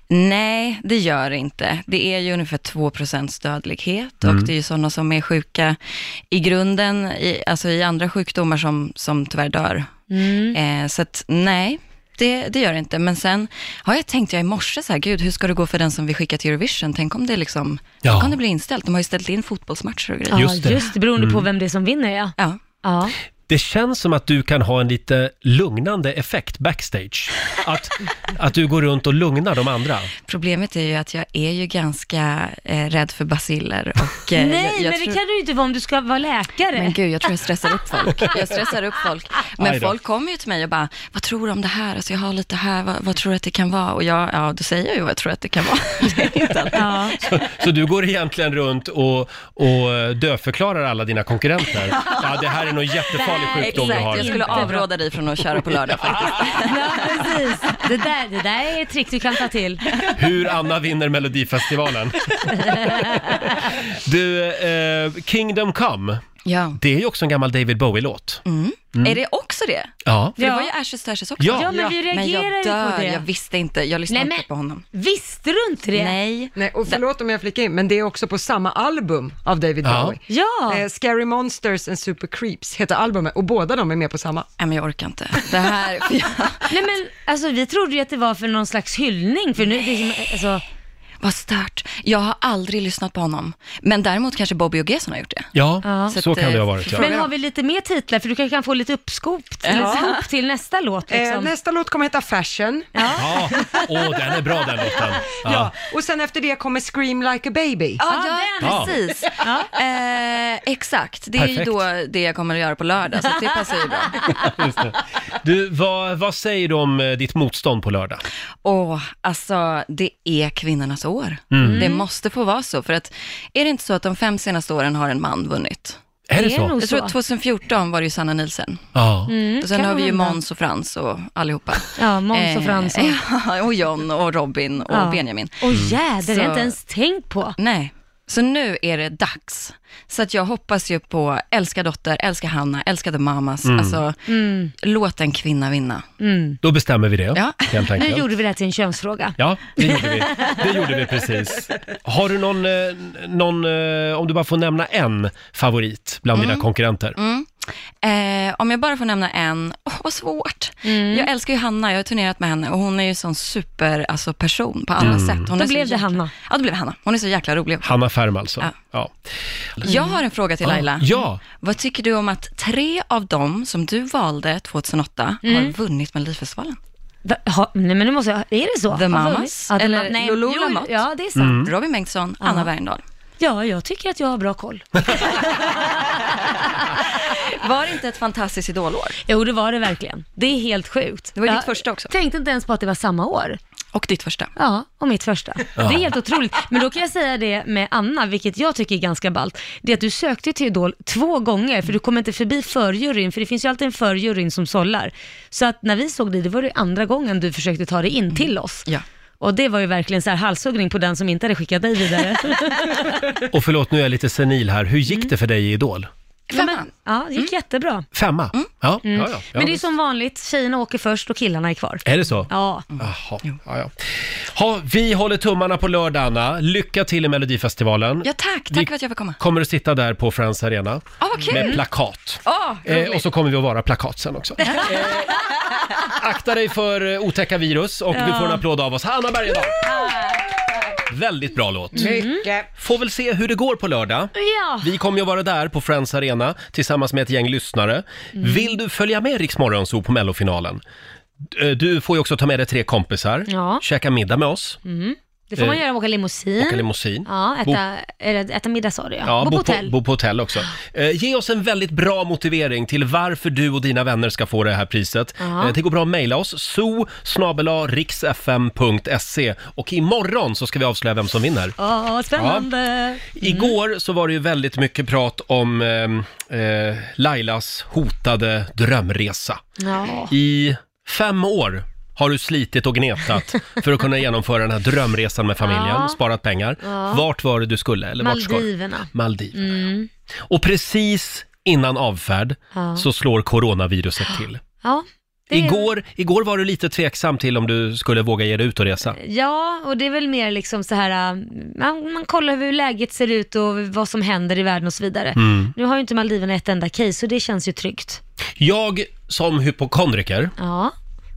S10: Nej, det gör det inte. Det är ju ungefär 2% dödlighet
S2: Mm.
S10: och det är ju sådana som är sjuka i grunden, i, alltså i andra sjukdomar som, som tyvärr dör.
S2: Mm.
S10: Eh, så att nej, det, det gör det inte. Men sen har jag tänkt, jag i morse så här, gud hur ska det gå för den som vi skickar till Eurovision? Tänk om det liksom,
S1: Ja.
S10: tänk om det blir inställt. De har ju ställt in fotbollsmatcher och grejer.
S2: Ja,
S1: Just
S2: just
S1: det.
S2: det. Mm. beroende på vem det är som vinner ja.
S10: Ja.
S2: Ja,
S1: Det känns som att du kan ha en lite lugnande effekt backstage. Att, att du går runt och lugnar de andra.
S10: Problemet är ju att jag är ju ganska eh, rädd för basiller och... eh,
S2: Nej,
S10: jag, jag
S2: men
S10: tror-
S2: det kan du ju inte vara om du ska vara läkare.
S10: Men gud, jag tror jag stressar upp folk. Jag stressar upp folk.
S1: Aj
S10: Men
S1: då.
S10: folk kommer ju till mig och bara, vad tror du om det här? Alltså jag har lite här, vad, vad tror du att det kan vara? Och jag, ja, då säger jag ju vad jag tror att det kan vara. Det är inte alltid-
S2: ja.
S1: Så du går egentligen runt och, och eh, dödförklarar alla dina konkurrenter. Ja, det här är någon jättefarlig
S2: Nej,
S1: sjukdom du
S10: Exakt,
S1: har.
S10: jag skulle avråda dig från att köra på lördag faktiskt.
S2: ja, precis. Det där, det där är ett trick du kan ta till.
S1: Hur Anna vinner Melodifestivalen. Du, eh, Kingdom Come,
S10: Ja,
S1: det är ju också en gammal David Bowie-låt. Mm.
S10: Är det också det?
S1: Ja.
S10: För det var ju Ashes to Ashes också.
S1: Ja. Ja, men vi
S10: men
S2: reagerar ju
S10: jag
S2: på
S10: dör,
S2: det.
S10: jag visste inte, jag lyssnade
S2: Nej, men-
S10: inte på honom.
S2: Visste du inte det?
S10: Nej.
S3: Nej, och förlåt om jag flikar in, men det är också på samma album av David
S1: Ja.
S3: Bowie.
S2: Ja.
S3: Eh, Scary Monsters and Super Creeps heter albumet och båda de är med på samma.
S10: Nej, men jag orkar inte. Det här, för jag,
S2: Nej men alltså vi trodde ju att det var för någon slags hyllning för nu, det är som, alltså,
S10: vad stört. Jag har aldrig lyssnat på honom. Men däremot kanske Bobby och Gesson har gjort det.
S1: Ja,
S10: Så
S1: så
S10: att,
S1: kan det ha
S10: eh,
S1: varit ja.
S2: Men har vi lite mer titlar? För du kanske kan få lite uppskop till,
S10: Ja.
S2: skop till nästa låt liksom.
S3: Eh, nästa låt kommer heta Fashion.
S1: Ja, åh den är bra den låten. Ja.
S3: Ja. Och sen efter det kommer Scream Like a Baby.
S10: Ja,
S2: Ja,
S10: ja,
S2: den.
S10: precis. Eh, exakt, det är
S1: Perfekt.
S10: ju då det jag kommer att göra på lördag, så det passar ju bra.
S1: Just det. Du, vad, vad säger du om eh, ditt motstånd på lördag?
S10: Åh, alltså det är kvinnornas år.
S2: Mm.
S10: Det måste få vara så, för att är det inte så att de fem senaste åren har en man vunnit?
S1: Är det
S2: Det är
S1: så?
S2: nog-
S10: Jag tror
S2: Så.
S10: att 2014 var det ju Sanna Nielsen.
S1: Ja.
S10: och sen
S2: Mm, kan
S10: har vi ju
S2: hända.
S10: Måns och Frans och allihopa.
S2: Ja, Måns och
S10: Eh,
S2: Frans och-
S10: ja, och John och Robin och
S2: Ja.
S10: Benjamin. Mm.
S2: Åh jäder, det har jag
S10: Så-
S2: inte ens tänkt på.
S10: Nej, så nu är det dags. Så att jag hoppas ju på Älska dotter, Älska Hanna, Älska the mamas. Alltså,
S2: Mm.
S10: låt en kvinna vinna.
S1: Då bestämmer vi det,
S10: Ja.
S1: helt
S2: Nu
S1: enkelt.
S2: gjorde vi det här till en könsfråga.
S1: Ja, det gjorde vi. Det gjorde vi precis. Har du någon, eh, någon eh, om du bara får nämna en favorit bland dina
S10: Mm.
S1: konkurrenter?
S10: Eh, om jag bara får nämna en, åh vad svårt.
S2: Mm.
S10: Jag älskar ju Hanna, jag har turnerat med henne och hon är ju sån super, alltså, person på alla sätt. Hon
S2: Då
S10: är så
S2: blev det
S10: jäkla-
S2: Hanna.
S10: Ja, då blev det Hanna. Hon är så jäkla rolig.
S1: Hanna Färm alltså. Ja.
S10: Ja. Jag har en fråga till Laila.
S1: Ja.
S10: Vad tycker du om att tre av dem som du valde 2008
S2: Mm.
S10: har vunnit Melodifestivalen?
S2: Va, ha, nej men nu måste jag, är det så?
S10: The
S2: Ja,
S10: Mamas,
S2: The
S10: eller
S2: Ma- nej,
S10: Lulu
S2: jo,
S10: Lamotte.
S2: Ja, det är sant.
S10: Robin Bengtsson, Anna Bergendahl.
S2: Ja, jag tycker att jag har bra koll.
S10: Var det inte ett fantastiskt idolår?
S2: Jo, det var det verkligen. Det är helt sjukt.
S10: Det var ju
S2: Jag
S10: ditt första också.
S2: Tänkte inte ens på att det var samma år.
S10: Och ditt första.
S2: Ja, och mitt första. Det är helt otroligt. Men då kan jag säga det med Anna, vilket jag tycker är ganska ballt. Det är att du sökte till Idol två gånger, för du kom inte förbi förjuryn, för det finns ju alltid en förjuryn som sållar. Så att när vi såg dig, det var det andra gången du försökte ta dig in till oss.
S10: Mm. Ja.
S2: Och det var ju verkligen så här halshuggning på den som inte hade skickat dig vidare.
S1: Och förlåt, nu är jag lite senil här. Hur
S10: Mm.
S1: gick det för dig i Idol?
S10: Femman.
S2: Ja, det gick jättebra. Mm.
S1: Femma? Ja,
S10: Mm.
S1: ja, ja. ja
S2: Men det är
S1: visst.
S2: som vanligt, tjejerna åker först och killarna är kvar.
S1: Är det så?
S2: Ja,
S10: Mm.
S1: Jaha, ja, ja. Ha, vi håller tummarna på lördag, Anna. Lycka till i Melodifestivalen.
S10: Ja, tack. Tack
S1: Vi-
S10: för att jag fick komma.
S1: Kommer att sitta där på Friends Arena
S10: Ah, vad kul.
S1: med plakat.
S10: Åh,
S1: Eh,
S10: roligt.
S1: och så kommer vi att vara plakat sen också. Eh, akta dig för eh, otäcka virus och du får en applåd av oss. Hanna Bergendahl! Väldigt bra låt.
S3: Mycket.
S1: Får väl se hur det går på lördag.
S2: Ja.
S1: Vi kommer ju att vara där på Friends Arena tillsammans med ett gäng lyssnare.
S10: Mm.
S1: Vill du följa med Rix Morgonzoo på mellofinalen? Eh, Du får ju också ta med dig tre kompisar,
S2: Ja.
S1: käka middag med oss,
S2: Mm. det får man
S1: Eh,
S2: göra, åka limousin.
S1: åka limousin.
S2: Mm. Ja,
S1: Bo-
S2: äta, eller, äta middag sa du ja.
S1: Ja,
S2: bo på
S1: bo,
S2: hotell.
S1: På, bo på hotell också. Eh, ge oss en väldigt bra motivering till varför du och dina vänner ska få det här priset.
S2: Ja.
S1: Eh, det går bra att mejla oss, so riksfm.se och imorgon så ska vi avslöja vem som vinner.
S2: Åh, spännande.
S1: Igår så var det ju väldigt mycket prat om eh, eh, Lailas hotade drömresa.
S2: Ja.
S1: I fem år har du slitit och gnetat för att kunna genomföra den här drömresan med familjen,
S2: Ja.
S1: sparat pengar. Vart var det du skulle? Eller vart ska du?
S2: Maldiverna.
S1: Maldiverna.
S2: Mm.
S1: ja. Och precis innan avfärd
S2: Ja.
S1: så slår coronaviruset till.
S2: Ja, det är-
S1: Igår, igår var du lite tveksam till om du skulle våga ge dig ut och resa.
S2: Ja, och det är väl mer liksom så här, äh, man, man kollar hur läget ser ut och vad som händer i världen och så vidare.
S1: Mm.
S2: Nu har ju inte Maldiverna ett enda case, så det känns ju tryggt.
S1: Jag som hypokondriker,
S2: Ja,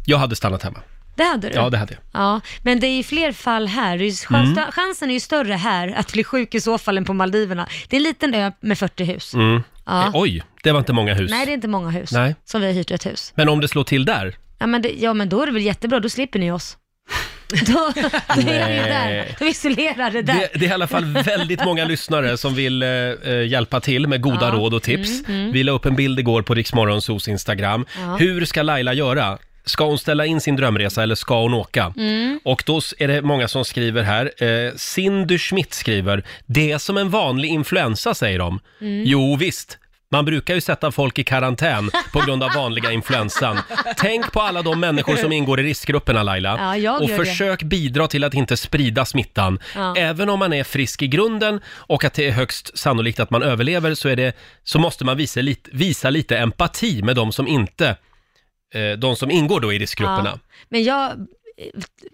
S1: jag hade stannat hemma.
S2: det hade du.
S1: Ja, det hade jag.
S2: Ja, men det är ju fler fall här. Det är ju chans,
S1: Mm.
S2: Chansen är ju större här att bli sjuk i så fall än på Maldiverna. Det är en liten ö med 40 hus. Ja.
S1: Eh, Oj, det var inte många hus.
S2: Nej, det är inte många hus
S1: Nej.
S2: som vi har hyrt ett hus.
S1: Men om det slår till där?
S2: Ja men, det, ja, men då är det väl jättebra, då slipper ni oss. då, då är vi ju där, då är vi isolerade där.
S1: Det, det är i alla fall väldigt många lyssnare som vill eh, eh, hjälpa till med goda
S2: Ja. Mm,
S1: råd och tips. Vi la upp en bild igår på Riksmorgonsos Instagram.
S2: Ja.
S1: Hur ska Laila göra? Ska hon ställa in sin drömresa eller ska hon åka?
S2: Mm.
S1: Och då s- är det många som skriver här. Eh,
S2: Mm.
S1: Cindy Schmidt skriver, det är som en vanlig influensa säger de. Jo visst, Man brukar ju sätta folk i karantän på grund av vanliga influensan. Tänk på alla de människor som ingår i riskgrupperna Laila.
S2: Ja, jag
S1: och
S2: gör det.
S1: försök bidra till att inte sprida smittan.
S2: Ja.
S1: Även om man är frisk i grunden och att det är högst sannolikt att man överlever så, är det, så måste man visa lite, visa lite empati med de som inte eh, de som ingår då i riskgrupperna.
S2: Men jag eh,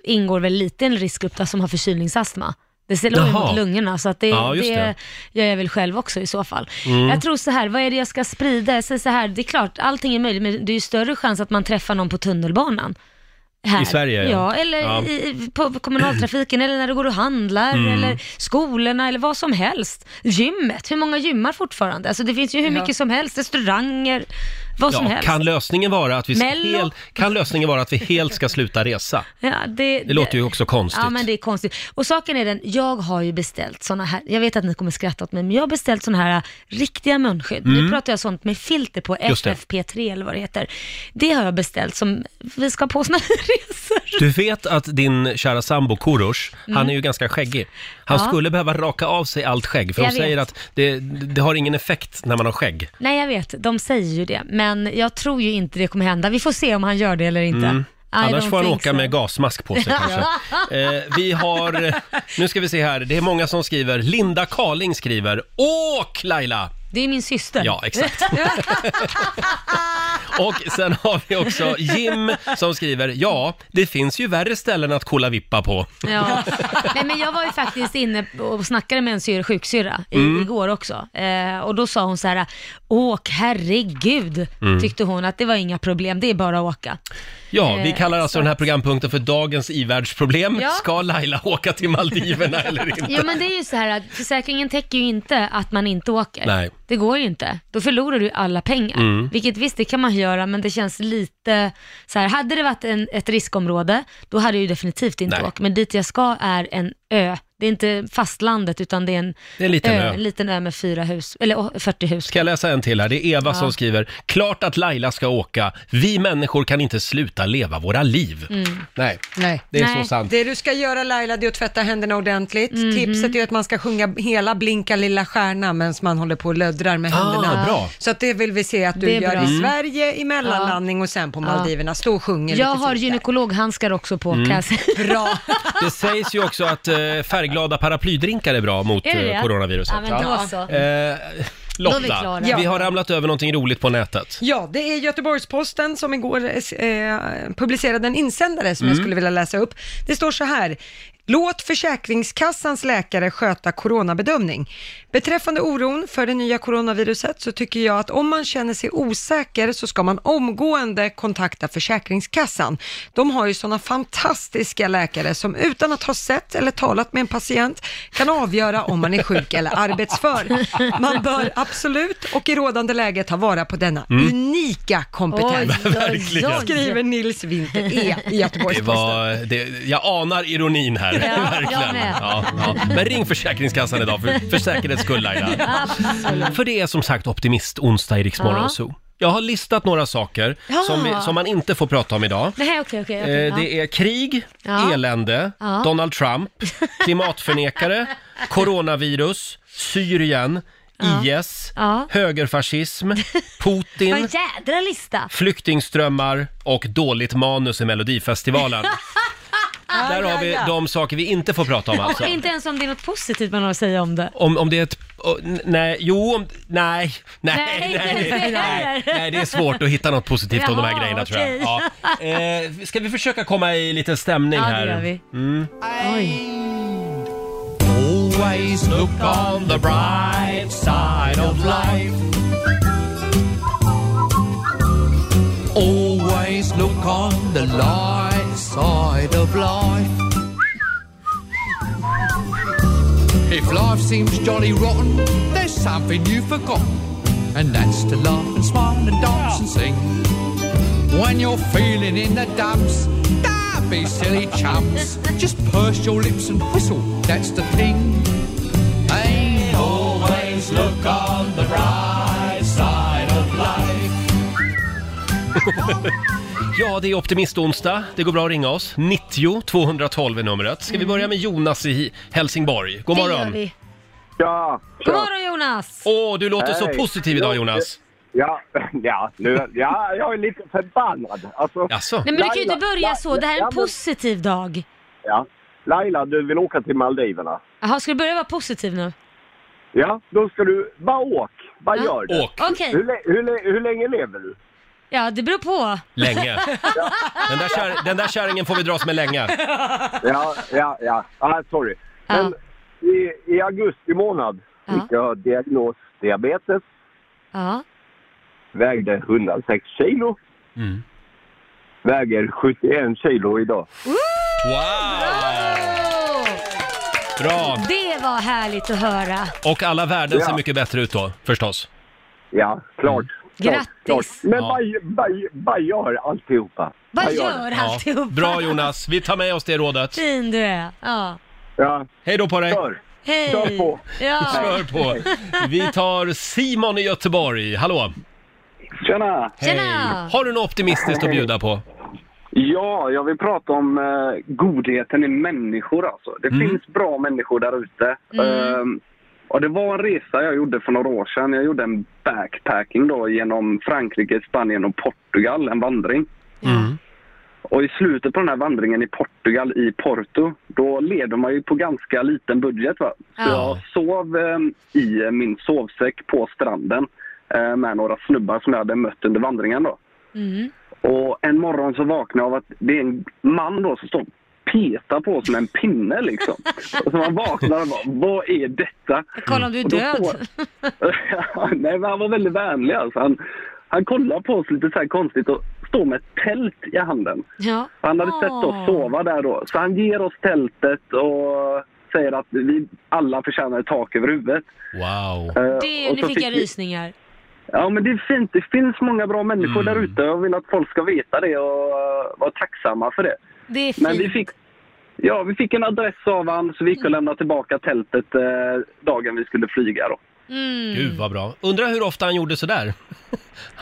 S2: ingår väl lite i en riskgrupp där som har förkylningsastma. Det slår ju
S1: Jaha.
S2: mot lungorna så att det,
S1: Ja, just
S2: det,
S1: det.
S2: gör jag väl själv också i så fall.
S1: Mm.
S2: Jag tror så här, vad är det jag ska sprida? Jag säger så här, det är klart allting är möjligt men det är ju större chans att man träffar någon på tunnelbanan. Här.
S1: I Sverige, ja.
S2: ja. eller
S1: Ja.
S2: I, på på kommunaltrafiken, eller när du går och handlar,
S1: Mm.
S2: eller skolorna, eller vad som helst. Gymmet, hur många gymmar fortfarande? Alltså det finns ju hur mycket som helst, restauranger, vad som helst.
S1: kan, lösningen vara att vi
S2: Mello.
S1: helt, kan lösningen vara att vi helt ska sluta resa?
S2: Ja, det,
S1: Det låter ju också konstigt.
S2: Ja, men det är konstigt. Och saken är den, jag har ju beställt sådana här, jag vet att ni kommer skratta åt mig, men jag har beställt sådana här äh, riktiga munskydd.
S1: Mm.
S2: Nu pratar jag sånt med filter på,
S1: Just det.
S2: FFP3 eller vad det heter. Det har jag beställt som vi ska ha på såna här resor.
S1: Du vet att din kära sambo Korosh, han
S2: Mm.
S1: är ju ganska skäggig. Han
S2: Ja.
S1: skulle behöva raka av sig allt skägg, för
S2: Jag
S1: de säger
S2: vet.
S1: att det, det har ingen effekt när man har skägg.
S2: Nej, jag vet, de säger ju det, men jag tror ju inte det kommer hända. Vi får se om han gör det eller inte.
S1: Mm.
S2: I
S1: Annars
S2: don't
S1: får han
S2: think
S1: åka
S2: so.
S1: med gasmask på sig kanske. Eh, vi har, nu ska vi se här, det är många som skriver. Linda Karling skriver, åk Laila!
S2: Det är min syster.
S1: Ja, exakt. Och sen har vi också Jim som skriver, ja, det finns ju värre ställen att kolla vippa på.
S2: Ja. Nej, men jag var ju faktiskt inne och snackade med en syr, sjuksyrra i-
S1: Mm.
S2: igår också. Eh, och då sa hon så här, åk herregud,
S1: Mm.
S2: tyckte hon att det var inga problem, det är bara att åka.
S1: Ja, vi
S2: Eh,
S1: kallar alltså
S2: så
S1: den här
S2: att-
S1: programpunkten för dagens ivärldsproblem.
S2: Ja.
S1: Ska Laila åka till Maldiverna eller inte?
S2: Jo men det är ju så här att försäkringen täcker ju inte att man inte åker.
S1: Nej.
S2: Det går ju inte. Då förlorar du ju alla pengar.
S1: Mm.
S2: Vilket visst, det kan man göra, men det känns lite så här, hade det varit en, ett riskområde, då hade jag ju definitivt inte
S1: Nej.
S2: åkt. Men dit jag ska är en ö. Det är inte fastlandet, utan det är en,
S1: Det är en liten ö.
S2: En liten ö med fyra hus, eller åh, 40 hus.
S1: Ska jag läsa en till här? Det är Eva
S2: Ja.
S1: som skriver. Klart att Laila ska åka. Vi människor kan inte sluta leva våra liv.
S2: Mm.
S1: Nej,
S3: Nej.
S1: Det är så sant.
S3: Det du ska göra Laila, det är att tvätta händerna ordentligt.
S2: Mhm.
S3: Tipset är att man ska sjunga hela Blinka lilla stjärna medan man håller på och löddrar med
S1: Ah,
S3: händerna.
S1: bra.
S3: Så att det vill vi se att du
S2: Det är
S3: gör
S2: bra.
S3: i
S2: Mm.
S3: Sverige, i mellanlandning och sen på Maldiverna. Stå och sjung
S2: Jag har gynekologhandskar också på,
S1: Mm.
S2: kan jag säga.
S3: Bra.
S1: det sägs ju också att eh, färgglada paraplydrinkar är bra mot
S2: Är det
S1: eh,
S2: det?
S1: coronaviruset.
S2: Ja, men då så.
S1: Eh,
S3: Då är vi
S1: Lotta,
S3: klara.
S1: vi, har ramlat över någonting roligt på nätet.
S3: Ja, det är Göteborgs-Posten som igår eh, publicerade en insändare som jag
S1: Mm.
S3: skulle vilja läsa upp. Det står så här. Låt Försäkringskassans läkare sköta coronabedömning. Beträffande oron för det nya coronaviruset så tycker jag att om man känner sig osäker så ska man omgående kontakta Försäkringskassan. De har ju sådana fantastiska läkare som utan att ha sett eller talat med en patient kan avgöra om man är sjuk eller arbetsför. Man bör absolut och i rådande läge ta vara på denna
S1: Mm.
S3: unika kompetens.
S1: Oj, oj, Verkligen. oj.
S3: Skriver Nils Winter E i
S1: Det
S3: Göteborgs-Posten.
S1: var, det, jag anar ironin här,
S3: Ja, jag
S1: verkligen.
S3: med.
S1: Ja, ja. Men ring Försäkringskassan idag, för, för säkerhets skull Laila. För det är som sagt optimist-onsdag i Rix
S2: Ja.
S1: ja. Zoo. Jag har listat några saker
S2: Ja.
S1: som, vi, som man inte får prata om idag.
S2: Nej, okej, okej. okej,
S1: Eh,
S2: ja.
S1: det är krig,
S2: Ja.
S1: elände,
S2: Ja.
S1: Donald Trump, klimatförnekare, coronavirus, Syrien,
S2: Ja.
S1: IS,
S2: Ja.
S1: högerfascism, Putin,
S2: Vad jädra lista!
S1: flyktingströmmar och dåligt manus i Melodifestivalen.
S2: Ah,
S1: Där har vi de saker vi inte får prata om alltså.
S2: Och inte ens om det är något positivt man har att säga om det.
S1: Om, om det är ett... oh, n- Nej, jo, om- nej, nej,
S2: Nej,
S1: nej,
S2: inte
S1: nej,
S2: ens
S1: nej,
S2: det
S1: nej,
S2: heller.
S1: nej, det är svårt att hitta något positivt om de här
S2: Jaha,
S1: grejerna tror jag.
S2: okej.
S1: Ja. Eh, ska vi försöka komma i lite stämning
S2: Ja, det
S1: här?
S2: gör vi.
S1: Mm.
S2: Oj.
S1: Always look on the bright side of life.
S11: Always look on the light side of life. If life seems jolly rotten, there's something you've forgotten, and that's to laugh and smile and dance and sing. When you're feeling in the dumps, don't be silly chumps. Just purse your lips and whistle, that's the thing. Hey, always look on the bright side of life.
S1: Ja, det är optimistonsdag. Det går bra att ringa oss. 90 212 är numret. Ska vi börja med Jonas i Helsingborg? God
S2: Mm. Det gör
S1: morgon.
S2: vi.
S12: Tja!
S2: God morgon Jonas!
S1: Åh, du låter så
S12: Hej.
S1: positiv idag Jonas.
S12: Ja, ja, nu, ja, jag är lite förbannad. Alltså,
S2: Nej men du kan ju inte börja så, det här är en positiv dag.
S12: Ja. Laila, du vill åka till Maldiverna.
S2: Jaha, ska du börja vara positiv nu?
S12: Ja, då ska du... Bara åk! Bara
S2: Ja.
S12: gör det.
S2: Åk. Okej.
S12: Hur, lä- hur, lä- hur länge lever du?
S2: Ja, det beror på.
S1: Länge. Den där, kär, den där kärringen får vi dras med länge.
S12: Ja, ja, ja. Ah, sorry. Men i, i augusti månad fick jag diagnos diabetes.
S2: Ja.
S12: Vägde 106 kilo.
S1: Mm.
S12: Väger 71 kilo idag.
S1: Wow! Bra!
S2: Det var härligt att höra.
S1: Och alla värden ser
S12: Ja.
S1: mycket bättre ut då, förstås.
S12: Ja, klart.
S2: Grattis.
S12: Men bara, bara, bara gör alltihopa.
S2: Vad gör alltihopa?
S1: Bra Jonas, vi tar med oss det rådet.
S2: Fin du är. Ja.
S12: Ja.
S1: Hej då på dig!
S2: Hej! Kör på. Ja.
S1: Kör på! Vi tar Simon i Göteborg, hallå!
S13: Tjena!
S1: Hej!
S13: Tjena.
S1: Har du något optimistiskt att bjuda på?
S2: Mm.
S13: Ja, jag vill prata om eh, godheten i människor alltså. Det
S1: Mm.
S13: finns bra människor där ute.
S14: Mm.
S13: Ehm, och det var en resa jag gjorde för några år sedan. Jag gjorde en backpacking då genom Frankrike, Spanien och Portugal, en vandring.
S15: Mm.
S13: Och i slutet på den här vandringen i Portugal, i Porto, då lever man ju på ganska liten budget. Va? Så jag sov eh, i min sovsäck på stranden eh, med några snubbar som jag hade mött under vandringen. Då.
S2: Mm.
S13: Och en morgon så vaknade jag av att det är en man då som står och petar på oss med en pinne liksom. Och så man vaknar och bara, vad är detta?
S2: Kolla om du är
S13: Och då
S2: död.
S13: står- Nej men han var väldigt vänlig alltså. Han, han kollade på oss lite så här konstigt och står med ett tält i handen.
S2: Ja.
S13: Han hade sett
S2: Ah.
S13: oss sova där då. Så han ger oss tältet och säger att vi alla förtjänar ett tak över huvudet. Eh,
S1: Wow.
S2: Det, nu fick jag rysningar.
S13: Ja, men det är fint. Det finns många bra
S1: Mm.
S13: människor där ute. Jag vill att folk ska veta det och eh, vara tacksamma för det.
S2: Det är
S13: Men vi
S2: fint. Mm.
S13: fick, ja, vi fick en adress av han så vi gick och lämnade tillbaka tältet eh, dagen vi skulle flyga. Då.
S2: Mm.
S1: Gud vad bra. Undrar hur ofta han gjorde sådär?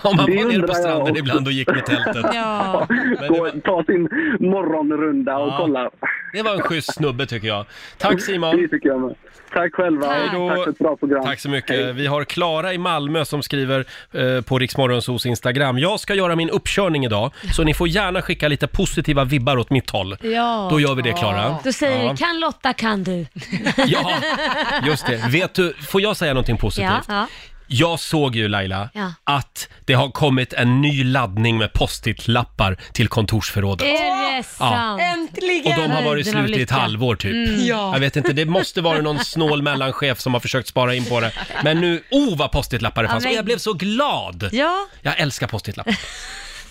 S1: Om han
S13: Det
S1: var nere
S13: undrar
S1: på
S13: jag
S1: stranden
S13: också.
S1: ibland och gick med tältet.
S2: Ja.
S13: Gå, ta sin morgonrunda och
S1: Ja.
S13: kolla.
S1: Det var en schysst snubbe tycker jag. Tack Simon!
S13: Det tycker jag med. Tack själva.
S1: Hej då.
S13: Tack för ett bra program.
S1: Tack så mycket. Vi har Klara i Malmö som skriver eh, på Riksmorgonsos Instagram. Jag ska göra min uppkörning idag, så ni får gärna skicka lite positiva vibbar åt mitt håll.
S2: Ja.
S1: Då gör vi det, Klara.
S2: Då säger
S1: Ja.
S2: du, kan Lotta, kan du.
S1: Ja, just det. Vet du, får jag säga någonting positivt?
S2: Ja, ja.
S1: Jag såg ju Laila,
S2: Ja.
S1: att det har kommit en ny laddning med post-it-lappar till kontorsförrådet.
S2: Är det sant?
S1: Och
S16: Äntligen!
S1: de har varit slut i ett halvår typ.
S16: Mm. Ja.
S1: Jag vet inte, det måste vara någon snål mellanchef som har försökt spara in på det. Men nu, oh vad post-it-lappar det
S2: Ja,
S1: fanns.
S2: men-
S1: Och jag blev så glad!
S2: Ja.
S1: Jag älskar post-it-lappar.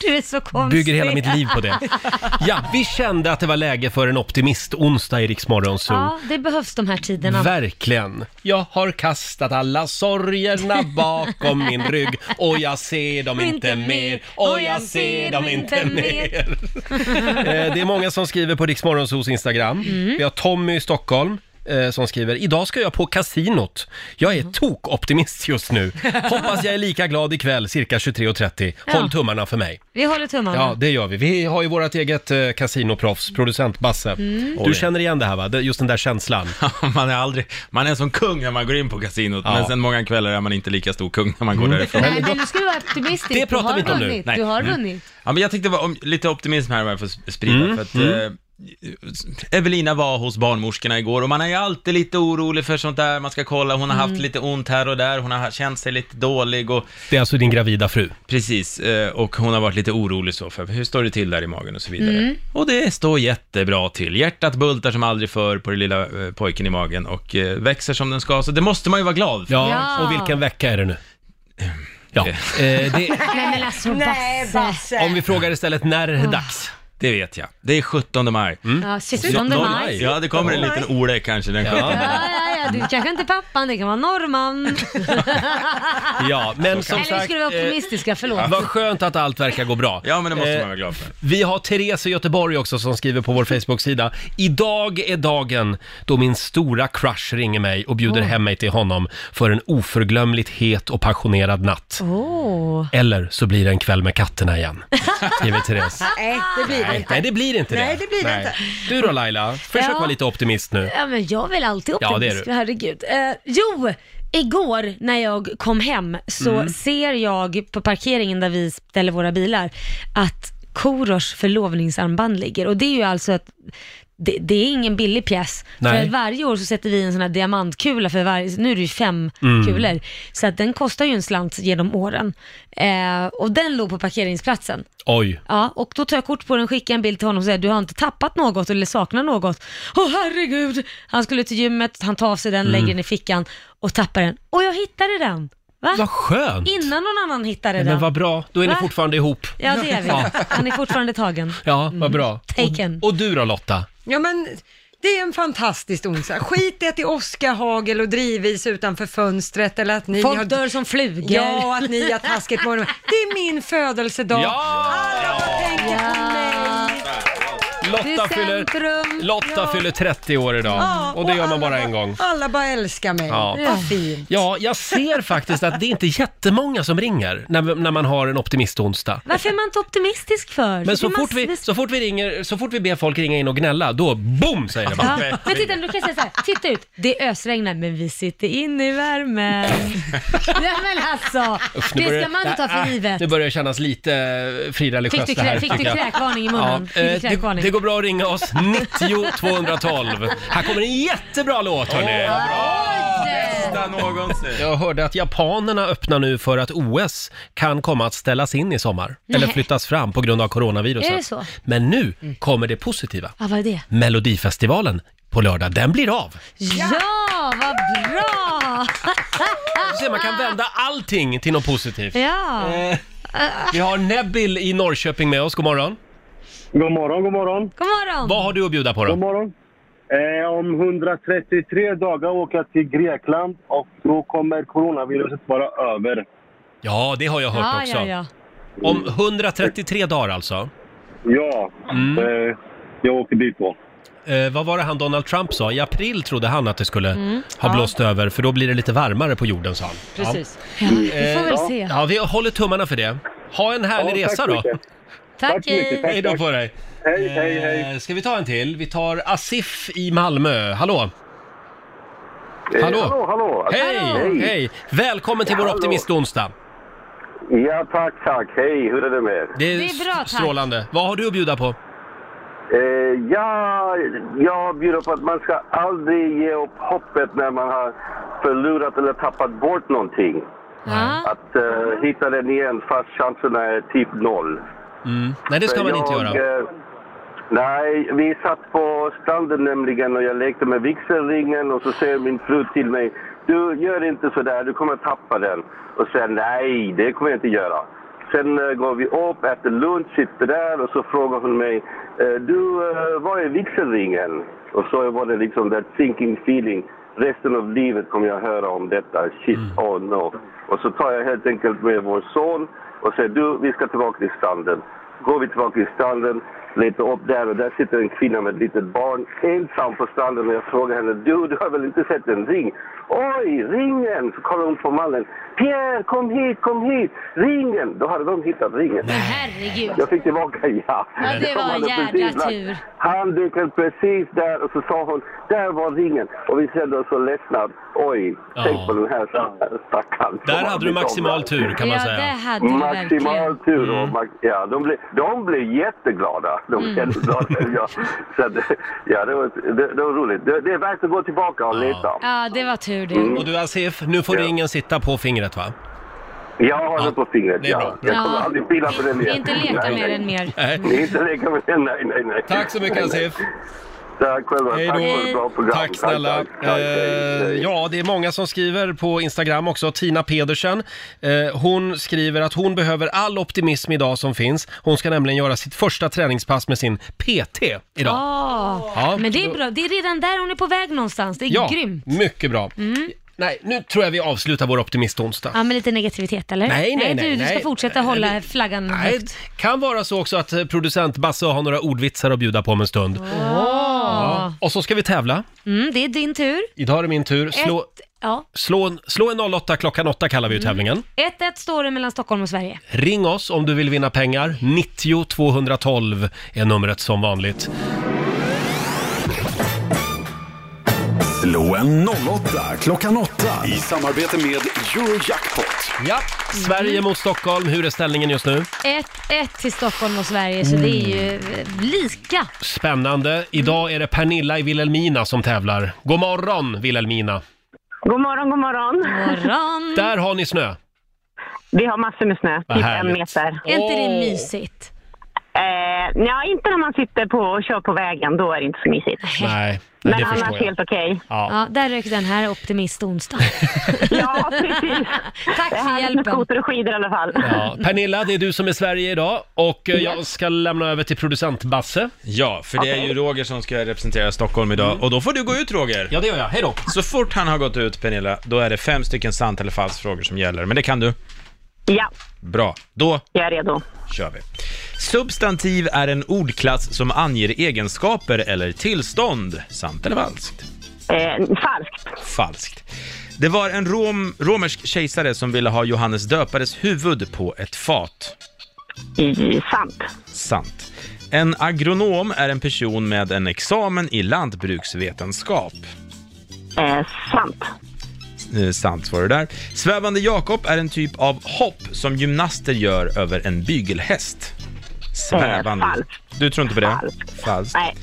S2: Du är så konstig.
S1: Bygger hela mitt liv på det. Ja, vi kände att det var läge för en optimist-onsdag i Rix Morgon Zoo.
S2: Ja, det behövs de här tiderna.
S1: Verkligen. Jag har kastat alla sorgerna bakom min rygg och jag ser dem inte mer och Oh, jag ser dem inte mer. Eh, Det är många som skriver på Riksmorgonsos Instagram.
S2: Mm.
S1: Vi har Tommy i Stockholm eh, som skriver “Idag ska jag på kasinot. Jag är tokoptimist just nu. Hoppas jag är lika glad ikväll cirka 23.30. Håll
S2: Ja.
S1: tummarna för mig.”
S2: Vi håller tummarna.
S1: Ja, det gör vi. Vi har ju vårt eget eh, kasinoproffs, producent Basse. Du
S2: Mm.
S6: Oj.
S1: känner igen det här va? Det- Just den där känslan.
S6: man är aldrig, man är som kung när man går in på kasinot,
S1: Ja. Mm.
S6: men sen många kvällar är man inte lika stor kung när man går
S2: Mm.
S6: därifrån.
S16: Nej, men nu ska du vara optimistisk.
S6: Det pratar
S16: du har
S6: vi inte om nu.
S16: vunnit.
S6: Nej.
S16: Du har
S6: Mm.
S16: vunnit.
S6: Ja, men jag tänkte vara om, lite optimism här bara för att sp- sprida,
S1: Mm,
S6: för att eh, Evelina var hos barnmorskorna igår och man är ju alltid lite orolig för sånt där, man ska kolla, hon har haft
S1: Mm.
S6: lite ont här och där, hon har känt sig lite dålig och...
S1: Det är alltså din gravida fru?
S6: Precis, eh, och hon har varit lite orolig så för hur står det till där i magen och så vidare.
S1: Mm.
S6: Och det står jättebra till. Hjärtat bultar som aldrig förr på den lilla eh, pojken i magen och eh, växer som den ska, så det måste man ju vara glad för.
S1: Ja, Ja. och vilken vecka är det nu? Ja. Eh, det,
S2: Nej men alltså Nej, Basse.
S1: om vi frågar istället, när är det dags?
S6: Det vet jag. Det är 17 maj.
S2: Ja, 17 maj.
S6: Ja, det kommer en liten Ole kanske den 17 maj.
S2: Ja, ja, ja, du kanske inte är pappan, det kan vara norrman.
S1: Ja, men som
S2: Eller
S1: sagt...
S2: skulle vi vara
S1: eh,
S2: optimistiska, förlåt.
S1: Vad skönt att allt verkar gå bra. Ja,
S6: men det måste man vara glad för.
S1: Vi har Therese i Göteborg också som skriver på vår Facebook-sida. Idag är dagen då min stora crush ringer mig och bjuder
S2: Åh.
S1: hem mig till honom för en oförglömligt het och passionerad natt.
S2: Åh.
S1: Eller så blir det en kväll med katterna igen, skriver Therese.
S16: Nej, det blir det inte.
S1: Nej, nej, det blir inte det.
S16: Nej, det blir det inte.
S1: Du då Laila, försök
S2: Ja.
S1: vara lite optimist nu.
S2: Ja men jag är väl alltid
S1: Ja,
S2: optimist
S1: det är du.
S2: herregud. Eh, jo, igår när jag kom hem så
S14: Mm.
S2: ser jag på parkeringen där vi ställer våra bilar att Korosh förlovningsarmband ligger och det är ju alltså att det, det är ingen billig pjäs. För
S14: Nej.
S2: att varje år så sätter vi en sån här diamantkula för varje, nu är det ju fem
S14: Mm.
S2: kulor. Så att den kostar ju en slant genom åren. Eh, och den låg på parkeringsplatsen.
S1: Oj.
S2: Ja, och då tar jag kort på den, skickar en bild till honom och säger du har inte tappat något eller saknar något. Åh herregud! Han skulle till gymmet, han tar av sig den,
S1: Mm.
S2: lägger den i fickan och tappar den. Och jag hittade den! Va? Vad
S1: skönt.
S2: Innan någon annan hittade
S1: Nej,
S2: den.
S1: Men vad bra, då är ni
S2: Va?
S1: fortfarande ihop.
S2: Ja, det är vi.
S1: Ja,
S2: Han är fortfarande tagen.
S1: ja vad bra.
S2: Taken.
S1: Och du då Lotta?
S3: Ja, men det är en fantastisk onsdag. Skit i att det är åskahagel och drivis utanför fönstret eller att ni
S2: Folk
S3: har...
S2: dör som flugor.
S3: Ja, och att ni har taskigt morgon. Det är min födelsedag. Alla bara tänker på mig.
S1: Lotta fyller, Lotta fyller 30 år idag
S3: Ja,
S1: och det gör man
S3: alla
S1: bara en gång.
S3: Alla bara älskar mig.
S1: Ja.
S3: Vad fint.
S1: Ja, jag ser faktiskt att det är inte jättemånga som ringer när, när man har en optimistonsdag.
S2: Varför är man inte optimistisk för?
S1: Men
S2: Det
S1: så
S2: är
S1: fort, vi,
S2: massvis-
S1: så, fort vi ringer, så fort vi ber folk ringa in och gnälla, då boom säger det bara.
S2: Ja. Men titta, du kan säga så här, titta ut, det ösregnar men vi sitter inne i värmen. Nej men alltså,
S1: Usch, nu
S2: det
S1: börjar-
S2: ska man inte ta
S1: Ah,
S2: för givet.
S1: Nu börjar jag kännas lite eh,
S2: Fick
S1: frireligiöst
S2: du,
S1: det här.
S2: krä, fick du
S1: tycker jag.
S2: kräkvarning i
S1: Ja,
S2: munnen? Fick du
S1: eh, det,
S2: kräkvarning?
S1: det går bra att ringa oss, 90 212. Här kommer en jättebra låt hörni!
S6: Bästa någonsin.
S1: Jag hörde att japanerna öppnar nu för att OS kan komma att ställas in i sommar.
S2: Nej.
S1: Eller flyttas fram på grund av coronaviruset.
S2: Är det så? Mm. Ah.
S1: Men nu kommer det positiva.
S2: Ja, vad är det?
S1: Melodifestivalen på lördag, den blir av!
S2: Ja, vad bra!
S1: Du ser, man kan vända allting till något positivt.
S2: Ja.
S1: Eh, vi har Nebil i Norrköping med oss, god morgon.
S15: God morgon, god morgon.
S2: God morgon.
S1: Vad har du att bjuda på då?
S15: God morgon. Eh, om 133 dagar åker jag till Grekland och då kommer coronaviruset vara över.
S1: Ja, det har jag hört
S15: Ja,
S1: också.
S15: ja, ja.
S2: Mm.
S1: Om 133 dagar alltså. Mm.
S15: Ja, eh, jag åker dit då.
S1: Eh, vad var det han Donald Trump sa? I april trodde han att det skulle
S15: Mm.
S1: ha
S15: Ja.
S1: blåst över, för då blir det lite varmare på jorden, sa han.
S15: Precis.
S1: Ja.
S15: Ja, vi får
S1: Eh,
S15: väl se.
S1: Ja, vi håller tummarna för det. Ha en härlig
S15: Ja, tack
S1: resa
S15: så
S1: då.
S15: mycket. Tack, Tack så mycket, hej. tack,
S1: Hej då
S15: tack.
S1: på dig.
S15: Hej, hej, hej.
S1: Eh, Ska vi ta en till? Vi tar Asif i Malmö. Hallå? Hallå?
S15: Eh, hallå, hallå.
S1: Hej, hej!
S15: Hallå.
S1: Välkommen till vår
S15: Hallå.
S1: optimistonsdag.
S15: Ja, tack, tack. Hej, hur är det med er?
S1: Det är, strålande. Vad har du att bjuda på?
S15: Eh, ja, jag bjuder på att man ska aldrig ge upp hoppet när man har förlorat eller tappat bort någonting. Att eh, hitta den igen fast chanserna är typ noll.
S1: Mm. Nej, det ska
S15: För
S1: man inte
S15: jag,
S1: göra.
S15: eh, Nej, vi satt på stranden nämligen och jag lekte med vigselringen och så säger min fru till mig Du, gör inte sådär, du kommer tappa den. Och sen, nej, det kommer jag inte göra. Sen eh, går vi upp, äter lunch, sitter där och så frågar hon mig eh, Du, eh, var är vigselringen? Och så var det liksom that sinking feeling. Resten av livet kommer jag höra om detta. Shit,
S1: Mm.
S15: oh no. Och så tar jag helt enkelt med vår son och säger du, vi ska tillbaka till stranden. Går vi tillbaka till stranden, letar upp där och där sitter en kvinna med ett litet barn ensam på stranden och jag frågar henne, du, du har väl inte sett en ring? Oj, ringen! Så kollar hon på mannen. Pierre, kom hit, kom hit! Ringen! Då hade de hittat ringen.
S2: Herregud.
S15: Jag fick tillbaka, ja.
S2: Ja, det var en
S15: hade
S2: jädra
S15: precis lagt-
S2: tur.
S15: Han dök väl precis där och så sa hon, där var ringen. Och vi kände oss så ledsna. att, Oj, tänk på den här stackaren.
S1: Där hade du maximal tur, kan man Ja, säga. Mm. det hade du
S15: Maximal tur. Och max- ja, de, blev, de blev jätteglada. De blev
S1: Mm.
S15: jätteglada. Ja, så att, ja, det, var, det, det var roligt. Det, det är värt att gå tillbaka och leta.
S2: Ja, det var tur det.
S1: Mm. Och du Asif, nu får ringen sitta på fingret va?
S15: Jag har den på fingret,
S1: det är
S15: ja.
S1: bra.
S15: Jag kommer
S2: Ja.
S15: aldrig pilla på den igen.
S2: Inte leka
S15: Nej,
S2: med
S15: nej.
S2: den mer.
S15: Nej, inte leka med den. Nej, nej, nej.
S1: Tack så mycket
S15: Nej, nej.
S1: Asif.
S15: Tack själva.
S1: Hej
S15: Tack för ett bra
S1: då.
S15: program.
S1: Tack snälla.
S15: tack, tack.
S1: Eh, Ja, det är många som skriver på Instagram också. Tina Pedersen, eh, hon skriver att hon behöver all optimism idag som finns. Hon ska nämligen göra sitt första träningspass med sin PT idag.
S2: Ja.
S1: Ja.
S2: Men det är bra, det är redan där hon är på väg någonstans. Det är
S1: Ja,
S2: grymt.
S1: mycket bra.
S2: Mm.
S1: Nej, nu tror jag vi avslutar vår optimistonsdag.
S2: Ja, med lite negativitet eller?
S1: Nej, nej, nej,
S2: du, du ska
S1: nej.
S2: fortsätta hålla flaggan
S1: Nej,
S2: högt.
S1: kan vara så också att eh, producent Basse har några ordvitsar att bjuda på om en stund. Ja. Och så ska vi tävla.
S2: Mm, det är din tur.
S1: Idag är det min
S2: Eh.
S1: tur. Slå,
S2: Ett, ja.
S1: slå, en- slå en 08 klockan 8 kallar vi ju tävlingen.
S2: 1-1 står det mellan Stockholm och Sverige.
S1: Ring oss om du vill vinna pengar. 90 212 är numret som vanligt.
S4: Slå en 08 klockan 8. I samarbete med Eurojackpot.
S1: Ja,
S6: Mm.
S1: Sverige mot Stockholm. Hur är ställningen just nu?
S2: 1-1 till Stockholm och Sverige, så det är ju eh, lika.
S1: Spännande. Idag är det Pernilla i Vilhelmina som tävlar. God morgon Vilhelmina!
S6: Mm.
S14: God morgon, god morgon.
S2: morgon.
S1: Där har ni snö.
S14: Vi har massor med snö,
S1: Vad
S14: typ en
S1: härligt.
S14: meter.
S2: Är inte det mysigt?
S14: Eh, ja, inte när man sitter på och kör på vägen, då är det inte så mysigt.
S1: Nej,
S14: Men
S1: det
S14: annars
S1: förstår jag.
S14: helt okej.
S1: Ja.
S2: Ja, där rök den här optimist onsdag.
S14: Ja, precis.
S2: Tack för
S14: Härligt med
S2: hjälpen.
S14: skoter och skidor i alla fall.
S1: Ja, Pernilla, det är du som är Sverige idag och eh, jag ska lämna över till producent Basse.
S6: Ja, för det är ju Roger som ska representera Stockholm idag och då får du gå ut Roger.
S1: Ja, det gör jag. Hej då.
S6: Så fort han har gått ut Pernilla, då är det fem stycken sant eller falskt frågor som gäller. Men det kan du.
S14: Ja,
S6: Bra, då
S14: jag är redo.
S6: kör vi. Substantiv är en ordklass som anger egenskaper eller tillstånd. Sant eller falskt?
S14: falskt.
S6: Falskt. Det var en rom, romersk kejsare som ville ha Johannes döpares huvud på ett fat.
S14: sant.
S6: Sant. En agronom är en person med en examen i lantbruksvetenskap.
S14: sant.
S6: Eh, sant var det där. Svävande Jakob är en typ av hopp som gymnaster gör över en bygelhäst. Svävande.
S14: Eh, falskt.
S6: Du tror inte på det? Falskt.
S14: Nej.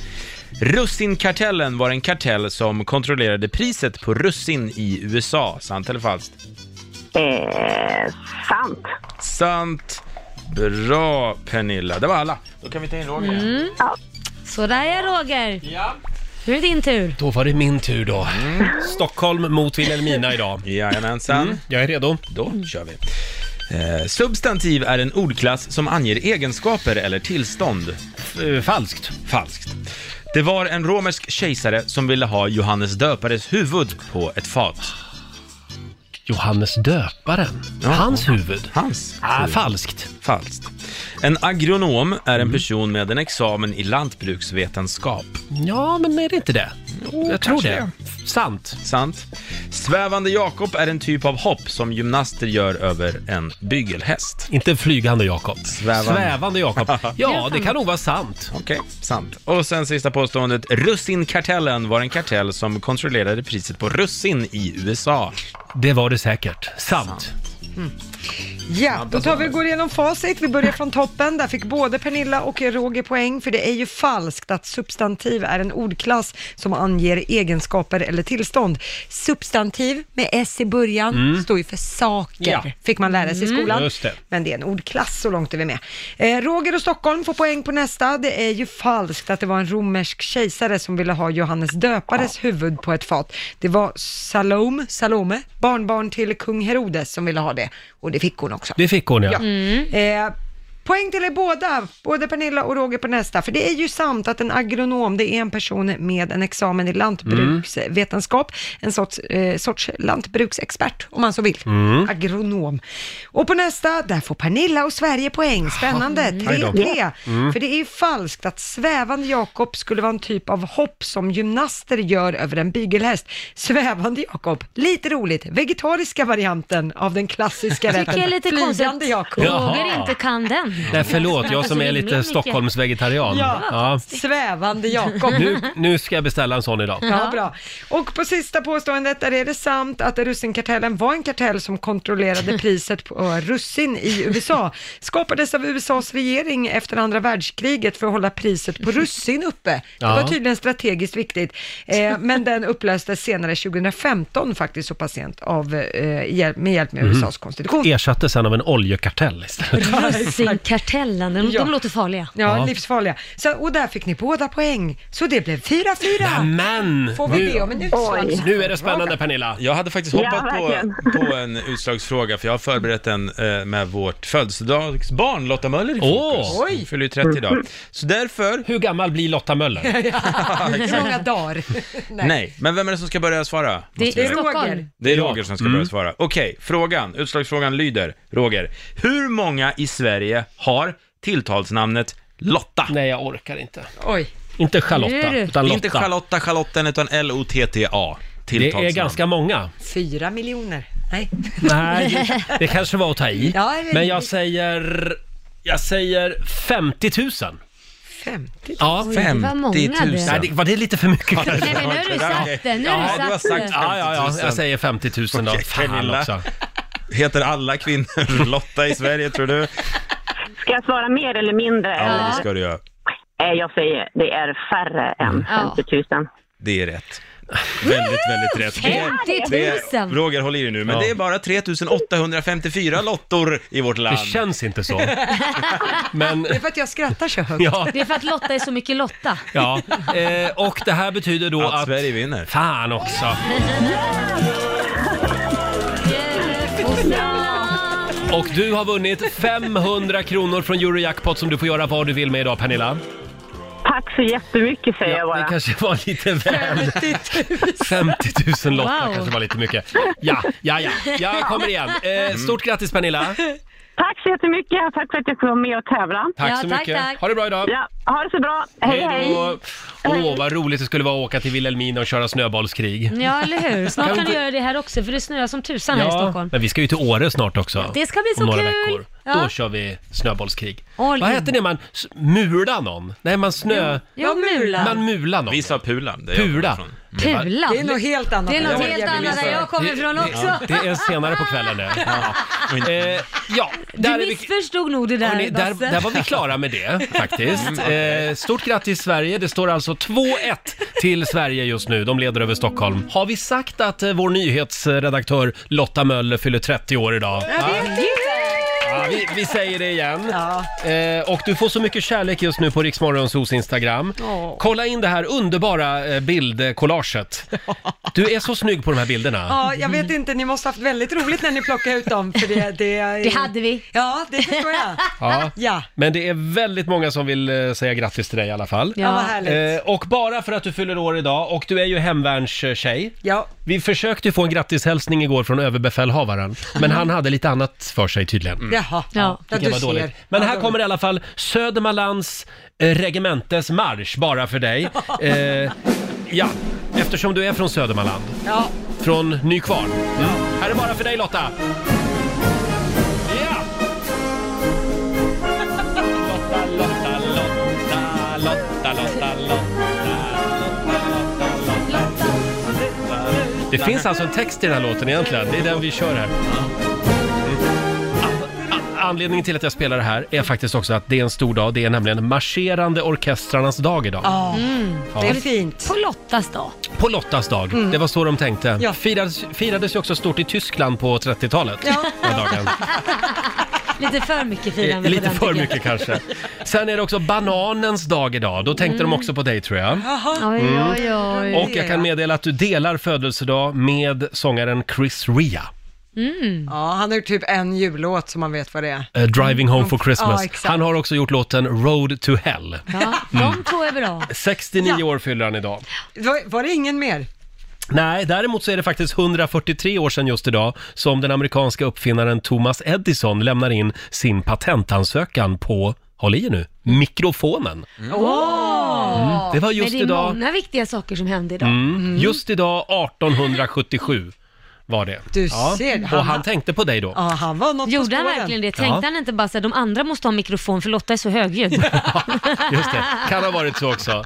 S6: Russinkartellen var en kartell som kontrollerade priset på russin i USA. Sant eller falskt?
S14: Eh, sant.
S6: Sant. Bra Pernilla, det var alla. Då kan vi ta in Roger.
S2: Mm. Så där är Roger.
S6: Ja.
S2: Nu är det din tur.
S1: Då var det min tur då.
S6: Mm.
S1: Stockholm mot Vilhelmina idag.
S6: Jajamensan.
S1: Mm, jag är redo.
S6: Då kör vi. Eh, substantiv är en ordklass som anger egenskaper eller tillstånd.
S1: eh, falskt.
S6: Falskt. Det var en romersk kejsare som ville ha Johannes döpares huvud på ett fat.
S1: Johannes döparen? Hans huvud?
S6: Hans.
S1: Ah, falskt.
S6: Falskt. En agronom är en person med en examen i lantbruksvetenskap.
S1: Ja, men är det inte det? jag tror
S6: kanske
S1: det. Sant.
S6: Sant. Svävande Jakob är en typ av hopp som gymnaster gör över en bygelhäst.
S1: Inte en flygande Jakob.
S6: Svävande.
S1: Svävande Jakob. Ja, det kan nog vara sant.
S6: Okej, sant. Och sen sista påståendet. Russinkartellen var en kartell som kontrollerade priset på russin i USA.
S1: Det var det säkert. Sant.
S3: Ja, då tar vi och
S8: alltså-
S3: går igenom facit. Vi börjar från toppen. Där fick både Pernilla och Roger poäng, för det är ju falskt att substantiv är en ordklass som anger egenskaper eller tillstånd. Substantiv med S i början
S8: Mm.
S3: står ju för saker,
S8: Ja.
S3: fick man lära sig i
S8: Mm.
S3: skolan.
S8: Just det.
S3: Men det är en ordklass, så långt är vi med. Eh, Roger och Stockholm får poäng på nästa. Det är ju falskt att det var en romersk kejsare som ville ha Johannes döpares huvud på ett fat. Det var Salome, Salome, barnbarn till kung Herodes som ville ha det. Och det fick hon också.
S1: Det fick hon, ja.
S3: Eh, Poäng till er båda, både Pernilla och Roger på nästa, för det är ju sant att en agronom, det är en person med en examen i lantbruksvetenskap, en sorts, eh, sorts lantbruksexpert om man så vill,
S8: Mm.
S3: agronom. Och på nästa, där får Pernilla och Sverige poäng, spännande,
S8: Aj då.
S3: 3-3.
S8: Mm.
S3: För det är ju falskt att svävande Jakob skulle vara en typ av hopp som gymnaster gör över en bygelhäst. Svävande Jakob, lite roligt, vegetariska varianten av den klassiska
S2: Tycker
S3: rätten.
S2: jag är lite
S3: Flygande
S2: konstigt.
S3: Jakob.
S2: Roger inte kan den.
S1: Nej, förlåt. Jag
S3: Alltså,
S1: som är lite Stockholmsvegetarian.
S3: Ja.
S1: Ja.
S3: Svävande Jakob.
S1: Nu, nu ska jag beställa en sån idag.
S3: Ja, bra. Och på sista påståendet, där är det sant att russinkartellen var en kartell som kontrollerade priset på eh, russin i USA. Skapades av USAs regering efter andra världskriget för att hålla priset på russin uppe. Det
S8: Ja.
S3: var tydligen strategiskt viktigt. Eh, men den upplöstes senare 2015 faktiskt, så patient av, eh, hjälp, med hjälp med
S1: Mhm.
S3: USAs konstitution.
S1: Ersattes sen av en oljekartell istället.
S2: Russinkartellen, de, de låter farliga.
S3: Ja,
S1: Ja.
S3: livsfarliga. Så, och där fick ni båda poäng, så det blev 4-4.
S1: Men!
S3: Får vi det om en utslagsfråga?
S1: Nu är det spännande Pernilla.
S6: Jag hade faktiskt
S3: Ja,
S6: hoppat
S3: verkligen.
S6: på, på en utslagsfråga, för jag har förberett en eh, med vårt födelsedagsbarn Lotta Möller i fokus.
S1: Åh!
S6: Hon fyller ju 30 idag. Så därför...
S1: Hur gammal blir Lotta Möller?
S3: Hur många dagar?
S6: Nej. men vem är det som ska börja svara?
S3: Det
S6: Måste vi
S3: är
S6: veta.
S3: Roger.
S6: Det är Roger som ska
S1: Mm.
S6: börja svara. Okej, frågan, utslagsfrågan lyder, Roger, hur många i Sverige har tilltalsnamnet Lotta?
S1: Nej, jag orkar inte.
S3: Oj.
S1: Inte Charlotta, utan Lotta.
S6: Inte Charlotta, Charlotten, utan L-O-T-T-A.
S1: Det är ganska många.
S3: Fyra miljoner? Nej.
S1: Nej, det kanske var att ta i.
S3: Ja, eller-
S1: Men jag säger... Jag säger 50 000.
S3: 50
S1: Ja.
S3: Oj, det var många
S1: 50 000.
S3: det.
S1: Nej, det, var det lite för mycket
S3: Nej,
S1: kanske?
S3: men nu har du satt det, nu har du
S1: Ja,
S3: satt det.
S1: Ja, ja, ja, jag säger 50 000 då.
S6: Okej,
S1: Fan
S6: Pernilla.
S1: också.
S6: Heter alla kvinnor Lotta i Sverige, tror du?
S14: Ska jag svara mer eller mindre?
S6: Ja, det ska du göra.
S14: Eh, Jag säger det är färre än 50 000.
S6: Det är rätt. Väldigt, väldigt rätt. Det är-
S14: 50 000.
S6: det är- Roger, håll i dig nu, men
S1: Ja.
S6: det är bara 3854 lottor i vårt land. Det
S1: känns inte så. Men,
S3: är för att jag skrattar så högt.
S1: Ja.
S2: Det är för att Lotta är så mycket Lotta.
S1: ja. Eh, och det här betyder då att... Att Sverige
S6: vinner.
S1: Fan också. Och du har vunnit 500 kronor från Eurojackpot som du får göra vad du vill med idag, Pernilla.
S14: Tack så jättemycket säger jag bara.
S1: Det kanske var lite väl... 50 000 lottar
S14: Wow.
S1: kanske var lite mycket. Ja, ja, ja. Jag kommer igen.
S6: Mm.
S1: Eh, stort grattis Pernilla.
S14: Tack så jättemycket. Tack för att jag fick vara med och tävla.
S1: Tack Ja, så tack, mycket. tack. Ha det bra idag.
S14: Ja, ha det så bra. Hej, hej.
S1: då. Åh, vad roligt det skulle vara att åka till Vilhelmina och köra snöbollskrig.
S2: Ja, eller hur? Snart
S1: Kan
S2: kan du
S1: inte-
S2: göra det här också, för det snöar som tusan här i Stockholm.
S1: men vi ska ju till Åre snart också.
S2: Det ska bli så
S1: Om några
S2: kul.
S1: veckor.
S2: Ja.
S1: Då kör vi snöbollskrig.
S2: All
S1: Vad
S2: in.
S1: heter det man s- mular någon? Nej, man snö...
S2: Jo, mula.
S1: Man mular någon.
S6: Vi sa pulan. Det
S1: Pula.
S2: Pula.
S3: Det är något helt annat.
S2: Det är något
S3: Ja,
S2: helt
S3: jag vill
S2: annat där
S3: visa.
S2: jag kommer ifrån också.
S1: Det är senare på kvällen nu. Eh, ja, där
S2: Du
S1: är vi...
S2: missförstod nog det där,
S1: Hörrni, där,
S2: Basse.
S1: där var vi klara med det
S2: Mm,
S1: faktiskt. Eh, stort grattis Sverige, det står alltså 2-1 till Sverige just nu. De leder över Stockholm. Har vi sagt att eh, vår nyhetsredaktör Lotta Möller fyller 30 år idag? Ja, vi, vi säger det igen. Eh, och du får så mycket kärlek just nu på Riksmorgonsos Instagram.
S3: Ja.
S1: Kolla in det här underbara eh, bildkollaget. Du är så snygg på de här bilderna.
S3: Ja, jag vet inte, ni måste haft väldigt roligt när ni plockade ut dem, för det... Det,
S2: Det hade vi.
S3: Ja, det förstår jag.
S1: Ja.
S3: Ja.
S1: Men det är väldigt många som vill eh, säga grattis till dig i alla fall.
S3: Ja, vad härligt.
S1: Eh, och bara för att du fyller år idag, och du är ju hemvärnstjej.
S3: Ja.
S1: Vi försökte ju få en grattishälsning igår från överbefälhavaren, men han hade lite annat för sig tydligen.
S3: Jaha, Mm. ja,
S1: Det
S3: du
S1: var dåligt.
S3: ser.
S1: Men här kommer i alla fall Södermanlands eh, regementes marsch bara för dig. Eh, ja, eftersom du är från Södermanland.
S3: Ja.
S1: Från Nykvarn. Mm. Här är bara för dig Lotta. Ja! Lotta, Lotta, Lotta, Lotta, Lotta, Lotta. Det finns alltså en text i den här låten egentligen. Det är den vi kör här. Anledningen till att jag spelar det här är faktiskt också att det är en stor dag. Det är nämligen Marscherande orkestrarnas dag idag.
S3: Ja,
S1: Ja.
S3: det är fint.
S2: Mm. På Lottas dag.
S1: På Lottas dag.
S3: Mm.
S1: Det var så de tänkte.
S3: Ja.
S1: Firades, firades ju också stort i Tyskland på 30-talet.
S2: Ja.
S1: Den här dagen.
S2: Lite för mycket
S1: Eh,
S2: firande på
S1: Lite
S2: den
S1: för
S2: tycker jag.
S1: mycket kanske. Sen är det också bananens dag idag. Då tänkte
S2: Mm.
S1: de också på dig tror jag.
S2: Oj,
S1: Mm.
S2: oj, oj.
S1: Och jag kan meddela att du delar födelsedag med sångaren Chris Ria.
S2: Mm.
S3: Ja, han har gjort typ en jullåt som man vet vad det är.
S1: Eh, Driving
S2: Mm.
S1: Home for Christmas.
S3: Ja, exakt.
S1: Han har också gjort låten Road to Hell.
S2: Ja,
S1: Mm.
S2: de två är bra.
S1: 69 år fyller han idag.
S3: Var, var det ingen mer?
S1: Nej, däremot så är det faktiskt 143 år sedan just idag som den amerikanska uppfinnaren Thomas Edison lämnar in sin patentansökan på, håll i er nu, mikrofonen.
S2: Åh!
S1: Mm. Det var just
S2: Men det är
S1: idag.
S2: många viktiga saker som hände idag.
S1: Mm. Just idag 1877 var det.
S2: Du ser,
S1: Och
S2: han-
S1: han tänkte på dig då.
S3: Ja, han var något på
S2: Gjorde han
S3: spåren.
S2: verkligen det? Tänkte
S1: Ja.
S2: han inte bara så här, de andra måste ha mikrofon för Lotta är så högljudd?
S1: Just det, kan ha varit så också.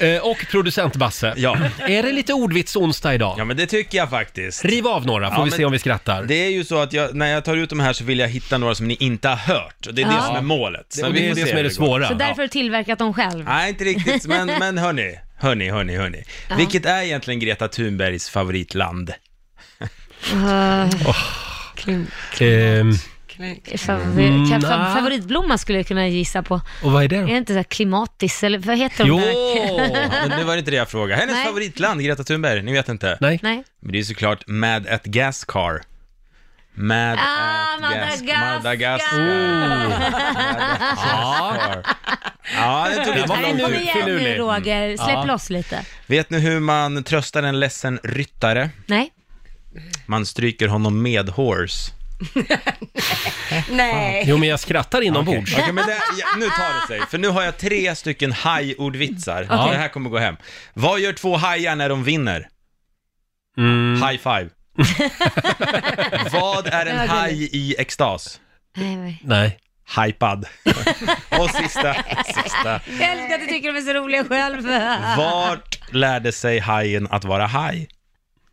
S1: Eh, Och producent Basse. Ja. Är det lite ordvits onsdag idag?
S6: Ja, men det tycker jag faktiskt.
S1: Riv av några, får
S6: Ja,
S1: vi
S6: men-
S1: se om vi skrattar.
S6: Det är ju så att jag, när jag tar ut de här så vill jag hitta några som ni inte har hört. Och Det är
S2: Ja.
S6: det som är målet.
S1: Och det är
S6: vi får
S1: det
S6: se
S1: som är
S6: hur
S1: det
S6: går.
S1: svåra.
S2: så därför har du tillverkat dem själv?
S6: Nej, inte riktigt, men, men hörni, hörni, hörni, hörni.
S2: Ja.
S6: Vilket är egentligen Greta Thunbergs favoritland?
S2: Eh,
S1: Ehm,
S2: favori-
S1: Mm,
S2: kan- fa-
S1: nej.
S2: Favoritblomma skulle jag kunna gissa på.
S1: och vad är det
S2: Är
S1: då?
S2: det inte så här klimatis, eller vad heter de
S6: Jo,
S2: där?
S6: men nu var det inte det jag frågade. Hennes
S2: Nej.
S6: favoritland, Greta Thunberg, ni vet inte?
S1: Nej.
S2: Nej.
S6: Men det är såklart Mad at Gascar. Mad at
S2: Ah,
S6: Gas-
S2: Madagaskar.
S6: Madagaskar. Mm. Madagaskar. Ja, det tog lite för
S2: Nej,
S6: lång
S2: Kom
S6: tid.
S2: igen nu
S1: Mm.
S2: Roger, släpp
S6: Ja.
S2: loss lite.
S6: Vet ni hur man tröstar en ledsen ryttare?
S2: Nej.
S6: Man stryker honom med horse.
S3: Nej.
S1: Jo, men jag skrattar inombords.
S6: Okej, men det, ja, nu tar det sig, för nu har jag tre stycken hajordvitsar.
S1: Ja.
S6: Det här kommer gå hem. Vad gör två hajar när de vinner?
S1: Mm.
S6: High five. Vad är en
S2: Det var
S6: haj i extas?
S2: Nej, nej.
S1: Nej.
S6: Hypad. Och sista, sista.
S2: Jag älskar att du tycker de är så roliga själv.
S6: Vart lärde sig hajen att vara haj?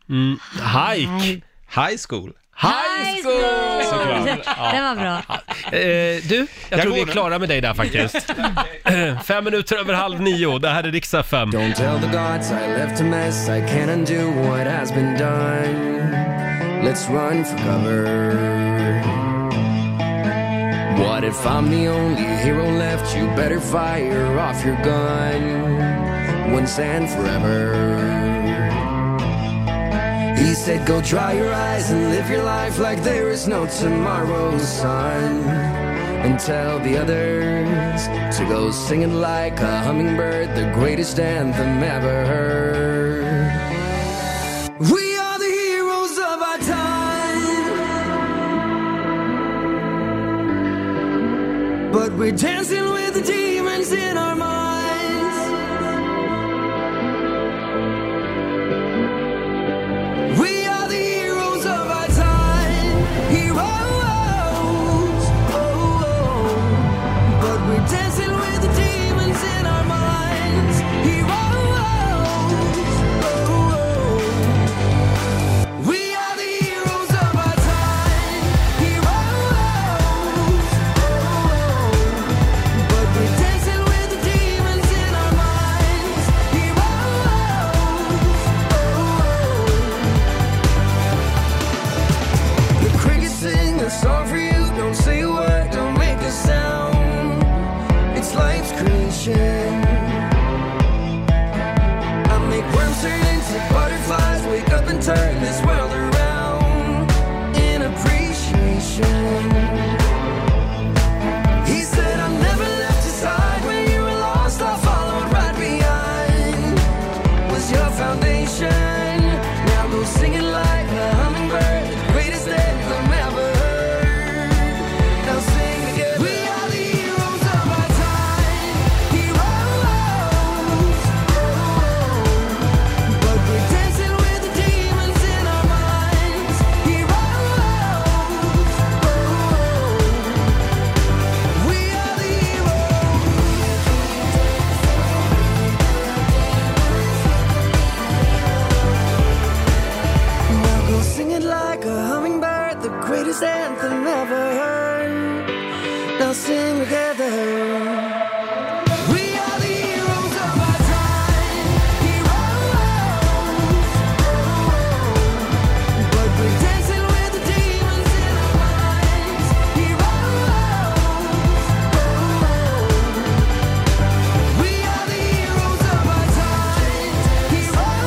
S1: Mm, hike.
S6: High school.
S1: High school!
S6: Såklart. Ja.
S2: Det var bra.
S1: Eh, du, jag,
S6: Jag
S1: tror
S6: går
S1: vi är
S6: nu.
S1: klara med dig där faktiskt. Eh, Fem minuter över halv nio, det här är Riksa 5.
S17: Tell the gods I left a mess. I can't undo what has been done. Let's run for cover. What if I'm the only hero left? You better fire off your gun once and forever. He said, Go dry your eyes and live your life like there is no tomorrow, sun. And tell the others to go singing like a hummingbird, the greatest anthem ever heard. We are the heroes of our time, but we're dancing with the demons in our minds. We are the heroes of our time. Heroes. Oh, oh. But we're dancing with the demons in our minds. Heroes. Oh, oh. We are the heroes of our time. Heroes. Oh, oh. But we're dancing with the demons in our minds. Heroes. oh. oh. The crickets sing a song for you. Don't say a word, don't make a sound. It's life's creation. I make worms turn into butterflies. Wake up and turn this world around in appreciation. He said, I never left your side when you were lost. I followed right behind was your foundation. Now go sing it like a hummingbird, the greatest anthem ever heard. Now sing together. We are the heroes of our time, heroes. Oh, but we're dancing with the demons in our minds, heroes. Oh, we are the Now go sing it like a hummingbird, the greatest anthem ever heard. Now sing together. We are the heroes of our time, heroes. Oh, but we're dancing with the demons in our minds, heroes. Oh, we are the heroes of our time, heroes.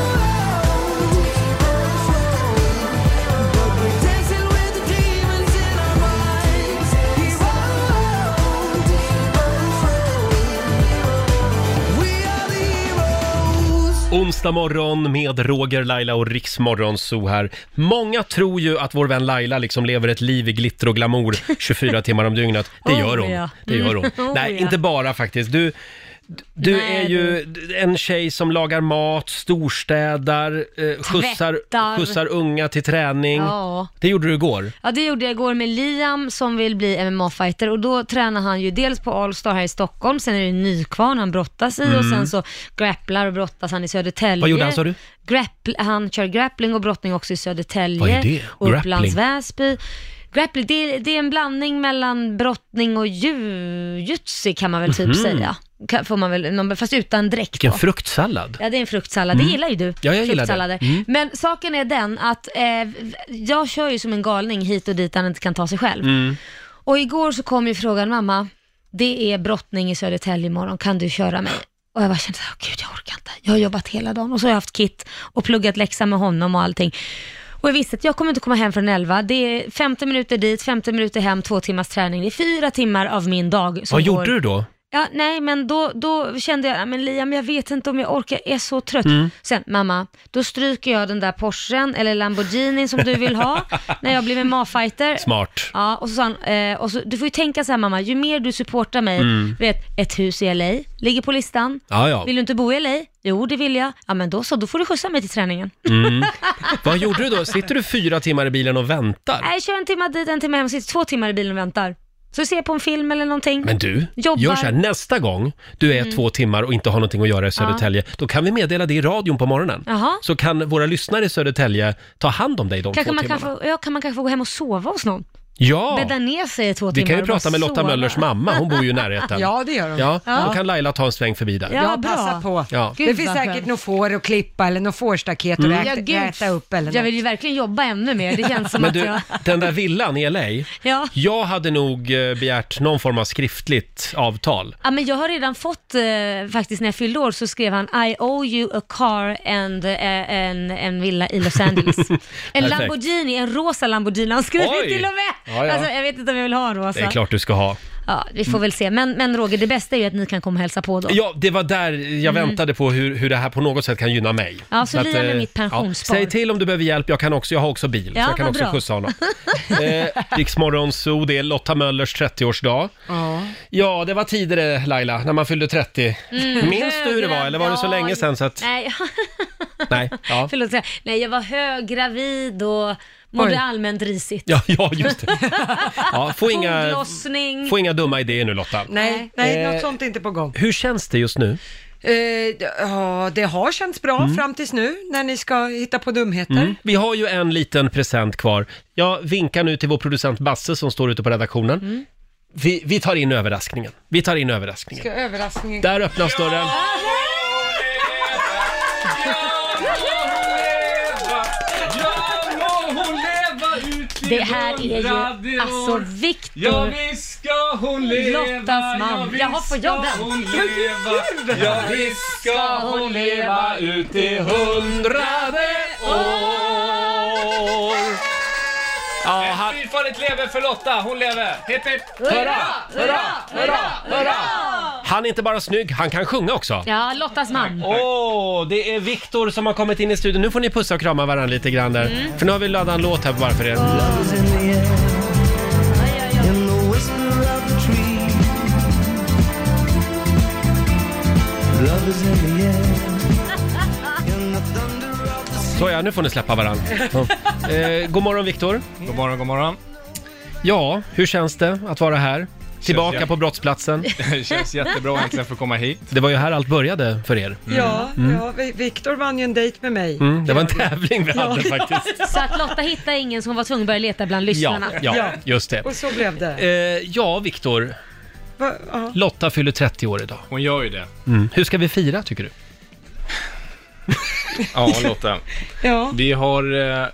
S1: Onsdag morgon med Roger, Laila och Riksmorgon Zoo här. Många tror ju att vår vän Laila liksom lever ett liv i glitter och glamour 24 timmar om dygnet. Det
S2: Oh,
S1: gör hon.
S2: ja.
S1: Det gör hon.
S2: Mm, oh,
S1: Nej,
S2: ja.
S1: inte bara faktiskt. Du, du
S2: Nej,
S1: är ju en tjej som lagar mat, storstädar, eh, skjutsar,
S2: Tvättar.
S1: skjutsar unga till träning.
S2: Ja.
S1: Det gjorde du igår.
S2: Ja, det gjorde jag igår med Liam som vill bli MMA-fighter och då tränar han ju dels på Allstar här i Stockholm, sen är det Nykvarn han brottas i och
S1: Mm.
S2: sen så grapplar och brottas han i Södertälje.
S1: Vad gjorde han, sa du?
S2: Grappl- han kör grappling och brottning också i Södertälje
S1: Vad är det?
S2: och
S1: Grappling?
S2: Upplands Väsby. Grappling, det, är- det är en blandning mellan brottning och jujutsu kan man väl typ
S1: Mhm.
S2: säga. Kan- Får man väl, man- fast utan dräkt
S1: Vilken
S2: då.
S1: fruktsallad.
S2: Ja, det är en fruktsallad.
S1: Mm.
S2: Det gillar ju du.
S1: Ja, jag gillar det.
S2: Fruktsallader.
S1: Mm.
S2: Men saken är den att eh, jag kör ju som en galning hit och dit han inte kan ta sig själv.
S1: Mm.
S2: Och igår så kom ju frågan, mamma, det är brottning i Södertälje imorgon, kan du köra mig? Och jag bara kände, oh, gud jag orkar inte. Jag har jobbat hela dagen och så har jag haft kit och pluggat läxa med honom och allting. Och jag visste att jag kommer inte komma hem förrän 11. Det är 50 minuter dit, 50 minuter hem, två timmars träning. Det är fyra timmar av min dag. som
S1: Vad
S2: går-
S1: gjorde du då?
S2: Ja, nej, men då, då kände jag, "Ja, men Liam, jag vet inte om jag orkar, jag är så trött.
S1: Mm.
S2: Sen, mamma, då stryker jag den där Porschen eller Lamborghini som du vill ha när jag blir MMA-fighter.
S1: Smart.
S2: Ja, och så sa han, eh, och så, du får ju tänka så här mamma, ju mer du supportar mig,
S1: Mm.
S2: du vet, ett hus i LA, ligger på listan.
S1: Ja, ja.
S2: Vill du inte bo i LA? Jo, det vill jag. Ja, men då så, då får du skjutsa mig till träningen.
S1: Mm. Vad gjorde du då? Sitter du fyra timmar i bilen och väntar?
S2: Nej, kör en timme dit, en timme hem, sitter två timmar i bilen och väntar. Så se på en film eller någonting.
S1: Men du,
S2: Jobbar.
S1: gör så här, nästa gång du är
S2: Mm.
S1: två timmar och inte har någonting att göra i
S2: Ja.
S1: Södertälje, då kan vi meddela det i radion på morgonen.
S2: Jaha.
S1: Så kan våra lyssnare i Södertälje ta hand om dig de
S2: Kanske
S1: två
S2: man
S1: timmarna.
S2: kan, få, ja, kan man kanske få gå hem och sova hos någon?
S1: Ja!
S2: Bädda ner sig i två
S1: Vi
S2: timmar
S1: kan ju
S2: och bara
S1: prata med Lotta
S2: sova.
S1: Möllers mamma, hon bor ju i närheten.
S3: Ja, det gör hon.
S1: Ja,
S3: Ja.
S1: då kan Laila ta en sväng förbi där.
S3: Ja, passa på.
S1: Ja.
S3: det finns säkert något får att klippa eller något fårstaket
S1: Mm.
S3: att
S2: Ja,
S3: äta,
S2: gud.
S3: äta upp eller
S2: Jag vill ju verkligen jobba ännu mer. Det känns som
S1: Men
S2: att
S1: du,
S2: jag...
S1: den där villan i LA,
S2: Ja.
S1: jag hade nog eh, begärt någon form av skriftligt avtal.
S2: Ja, men jag har redan fått, eh, faktiskt när jag fyllde år så skrev han I owe you a car and eh, en, en villa i Los Angeles. en
S1: Perfekt.
S2: Lamborghini, en rosa Lamborghini han skrev
S1: Oj.
S2: till och med.
S1: Ja, ja.
S2: Alltså, jag vet inte om jag vill ha en rosa.
S1: Det är klart du ska ha.
S2: Ja, vi får väl se. Men, men Roger, det bästa är ju att ni kan komma och hälsa på då.
S1: Ja, det var där jag
S2: Mm.
S1: väntade på hur, hur det här på något sätt kan gynna mig.
S2: Ja, så lia med
S1: eh,
S2: mitt pensionsspar.
S1: Säg till om du behöver hjälp, jag, kan också, jag har också bil,
S2: Ja,
S1: så jag kan
S2: vad
S1: också
S2: bra.
S1: skjutsa honom. eh, Riksmorgon Zoo, det är Lotta Möllers 30-årsdag.
S3: Ja.
S1: Ja, det var tider det, Laila, när man fyllde 30.
S2: Mm,
S1: Minns du hur det var,
S2: höggravid.
S1: eller var det så
S2: Ja,
S1: länge sedan så att...
S2: Nej,
S1: Nej, ja.
S2: förlåt. säga. Nej, jag var höggravid och mådde
S1: Oj.
S2: allmänt risigt.
S1: Ja, ja, just det. Ja, få, inga,
S2: Foglossning.
S1: få inga dumma idéer nu Lotta.
S3: Nej, nej
S1: Eh,
S3: något sånt är inte på gång.
S1: Hur känns det just nu?
S3: Eh, ja, det har känts bra fram tills nu när ni ska hitta på dumheter.
S1: Mm. Vi har ju en liten present kvar. Jag vinkar nu till vår producent Basse som står ute på redaktionen. Vi, vi tar in överraskningen. Vi tar in överraskningen.
S3: Ska överraskningen...
S1: Där öppnas dörren.
S2: Det här är ju alltså
S18: Ja
S2: Viktor.
S18: visst ska hon leva,
S2: Lottas man.
S18: ja, visst
S2: Jaha, får jag
S18: ska
S2: den?
S18: hon leva, ja visst ska hon leva ut i hundrade år.
S1: Ja,
S18: han... Fyrfaldigt lever för Lotta, hon lever. Hipp hipp!
S1: Hurra,
S18: hurra, hurra, hurra!
S1: Han är inte bara snygg, han kan sjunga också.
S2: Ja, Lottas man.
S1: Åh, det är Viktor som har kommit in i studion. Nu får ni pussa och krama varandra lite grann där. För nu har vi laddat en låt här bara för er. Eh. Så ja, nu får ni släppa varandra. Ja. Eh, god morgon Viktor. God morgon, god morgon. Ja, hur känns det att vara här? Tillbaka
S18: jätte-
S1: på brottsplatsen.
S18: Det känns jättebra äntligen för att komma hit.
S1: Det var ju här allt började för er.
S3: Ja,
S1: Mm.
S3: ja, Vi- Viktor vann ju en dejt med mig.
S1: Mm, det var en tävling vi hade
S3: Ja.
S1: faktiskt.
S2: Så att Lotta hittade ingen som var tvungen att börja leta bland
S1: Ja,
S2: lyssnarna.
S1: ja, just det.
S3: Och så blev det.
S1: Eh, ja, Viktor.
S3: Va, ja.
S1: Lotta fyller 30 år idag.
S18: Hon gör ju det.
S1: Mm. Hur ska vi fira, tycker du?
S18: Ja, Lotta.
S3: Ja.
S18: Vi har... Eh,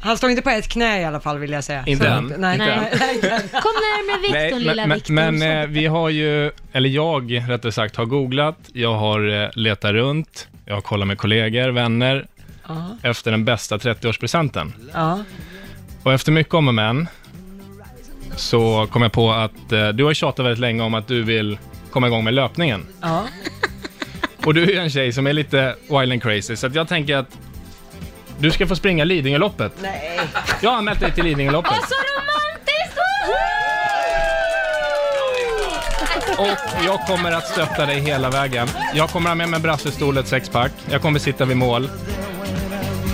S3: Han står inte på ett knä i alla fall vill jag säga.
S18: Inte
S3: Så-
S18: än.
S3: Nej,
S18: Inte
S3: nej,
S18: än.
S3: nej, nej.
S2: Kom närmare Viktor, lilla
S18: men,
S2: Viktor.
S18: men eh, vi har ju, eller jag rättare sagt, har googlat, jag har eh, letat runt, jag har kollat med kollegor, vänner,
S3: Ja.
S18: efter den bästa 30-årspresenten.
S3: Ja.
S18: Och efter mycket om och men, så kom jag på att eh, du har tjatat väldigt länge om att du vill komma igång med löpningen.
S3: Ja.
S18: Och du är ju en tjej som är lite wild and crazy, så att jag tänker att du ska få springa Lidingöloppet.
S3: Nej.
S18: Jag har anmält dig till Lidingöloppet.
S2: Åh, så romantiskt!
S18: Och jag kommer att stötta dig hela vägen. Jag kommer ha med mig brassestol, ett sexpack. Jag kommer sitta vid mål.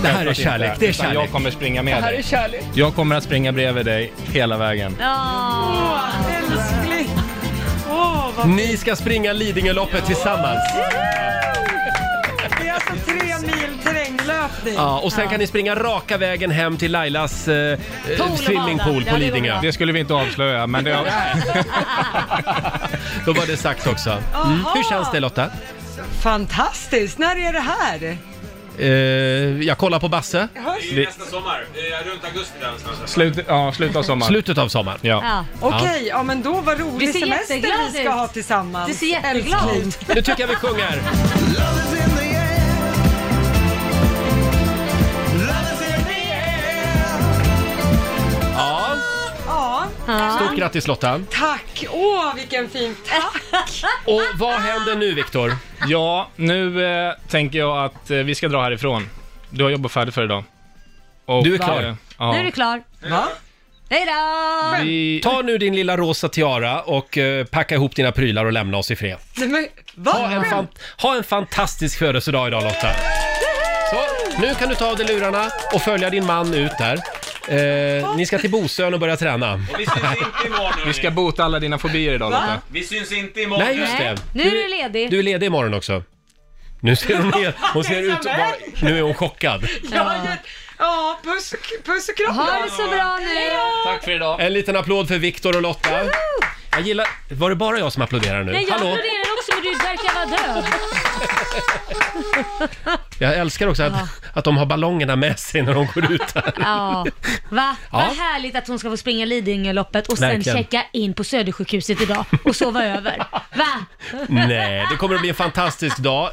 S1: Det här är
S18: Självklart
S1: kärlek,
S18: inte,
S1: det är
S18: utan
S1: kärlek.
S18: Jag kommer springa med dig.
S1: kärlek.
S18: Jag kommer att springa bredvid dig hela vägen.
S2: Åh,
S3: älskling! Åh, vad...
S1: Ni ska springa Lidingöloppet tillsammans.
S3: Det är alltså tre mil terränglöpning.
S1: Ja, och sen kan ni springa raka vägen hem till Lailas eh, eh,
S3: och bada.
S1: swimmingpool
S3: Ja,
S1: på
S3: det
S1: Lidingö.
S3: går bra.
S18: Det skulle vi inte avslöja, men det...
S1: Då var det sagt också. Mm.
S3: Aha.
S1: Hur känns det Lotta?
S3: Fantastiskt! När är det här?
S1: Eh, jag kollar på Basse. Vi-
S6: sommar, runt augusti där någonstans.
S18: Slut, ja, slutet av sommaren.
S1: Slutet av sommaren.
S3: Ja. Okej, ja. men då vad
S2: Du
S3: rolig
S2: ser
S3: semester
S2: jätteglad
S3: vi ska
S2: ut.
S3: ha tillsammans.
S2: Du ser jätteglad
S3: Älskling.
S2: ut.
S1: Nu tycker jag vi sjunger. Ja,
S3: Ja.
S1: stort grattis Lotta.
S3: Tack! Åh, vilken fin... Tack!
S1: Och vad händer nu Viktor?
S18: Ja, nu eh, tänker jag att eh, vi ska dra härifrån. Du har jobbat färdigt för idag. Och,
S1: Du är klar.
S18: eh, ja.
S2: Nu är du klar.
S3: Va?
S2: Hej då!
S1: Ta nu din lilla rosa tiara och eh, packa ihop dina prylar och lämna oss i fred.
S3: Nej, men, va?
S1: Ha en, fan, ha en fantastisk födelsedag idag Lotta. Så, nu kan du ta av dig lurarna och följa din man ut där. Eh, ni ska till Bosön och börja träna.
S6: Vi syns inte imorgon.
S18: Vi ska bota alla dina fobier idag Lotta.
S1: Va?
S6: Vi syns inte imorgon.
S1: Nej, just det.
S2: Nu är du ledig.
S1: Du är ledig imorgon också. Nu ser hon, helt- hon ser ut att vara- Nu är hon chockad.
S3: Ja, ja puss, och- puss och kram.
S2: Ha det så bra nu.
S3: Hej då.
S18: Tack för idag.
S1: En liten applåd för Viktor och Lotta. Jag gillar... Var det bara jag som applåderar nu?
S2: Nej, jag
S1: Hallå?
S2: applåderar också men du verkar vara död.
S1: Jag älskar också att, att de har ballongerna med sig när de går ut här.
S2: Ja, va?
S1: Ja.
S2: Vad härligt att hon ska få springa Lidingöloppet och sen
S1: Verkligen.
S2: checka in på Södersjukhuset idag och sova över. Va?
S1: Nej, det kommer att bli en fantastisk dag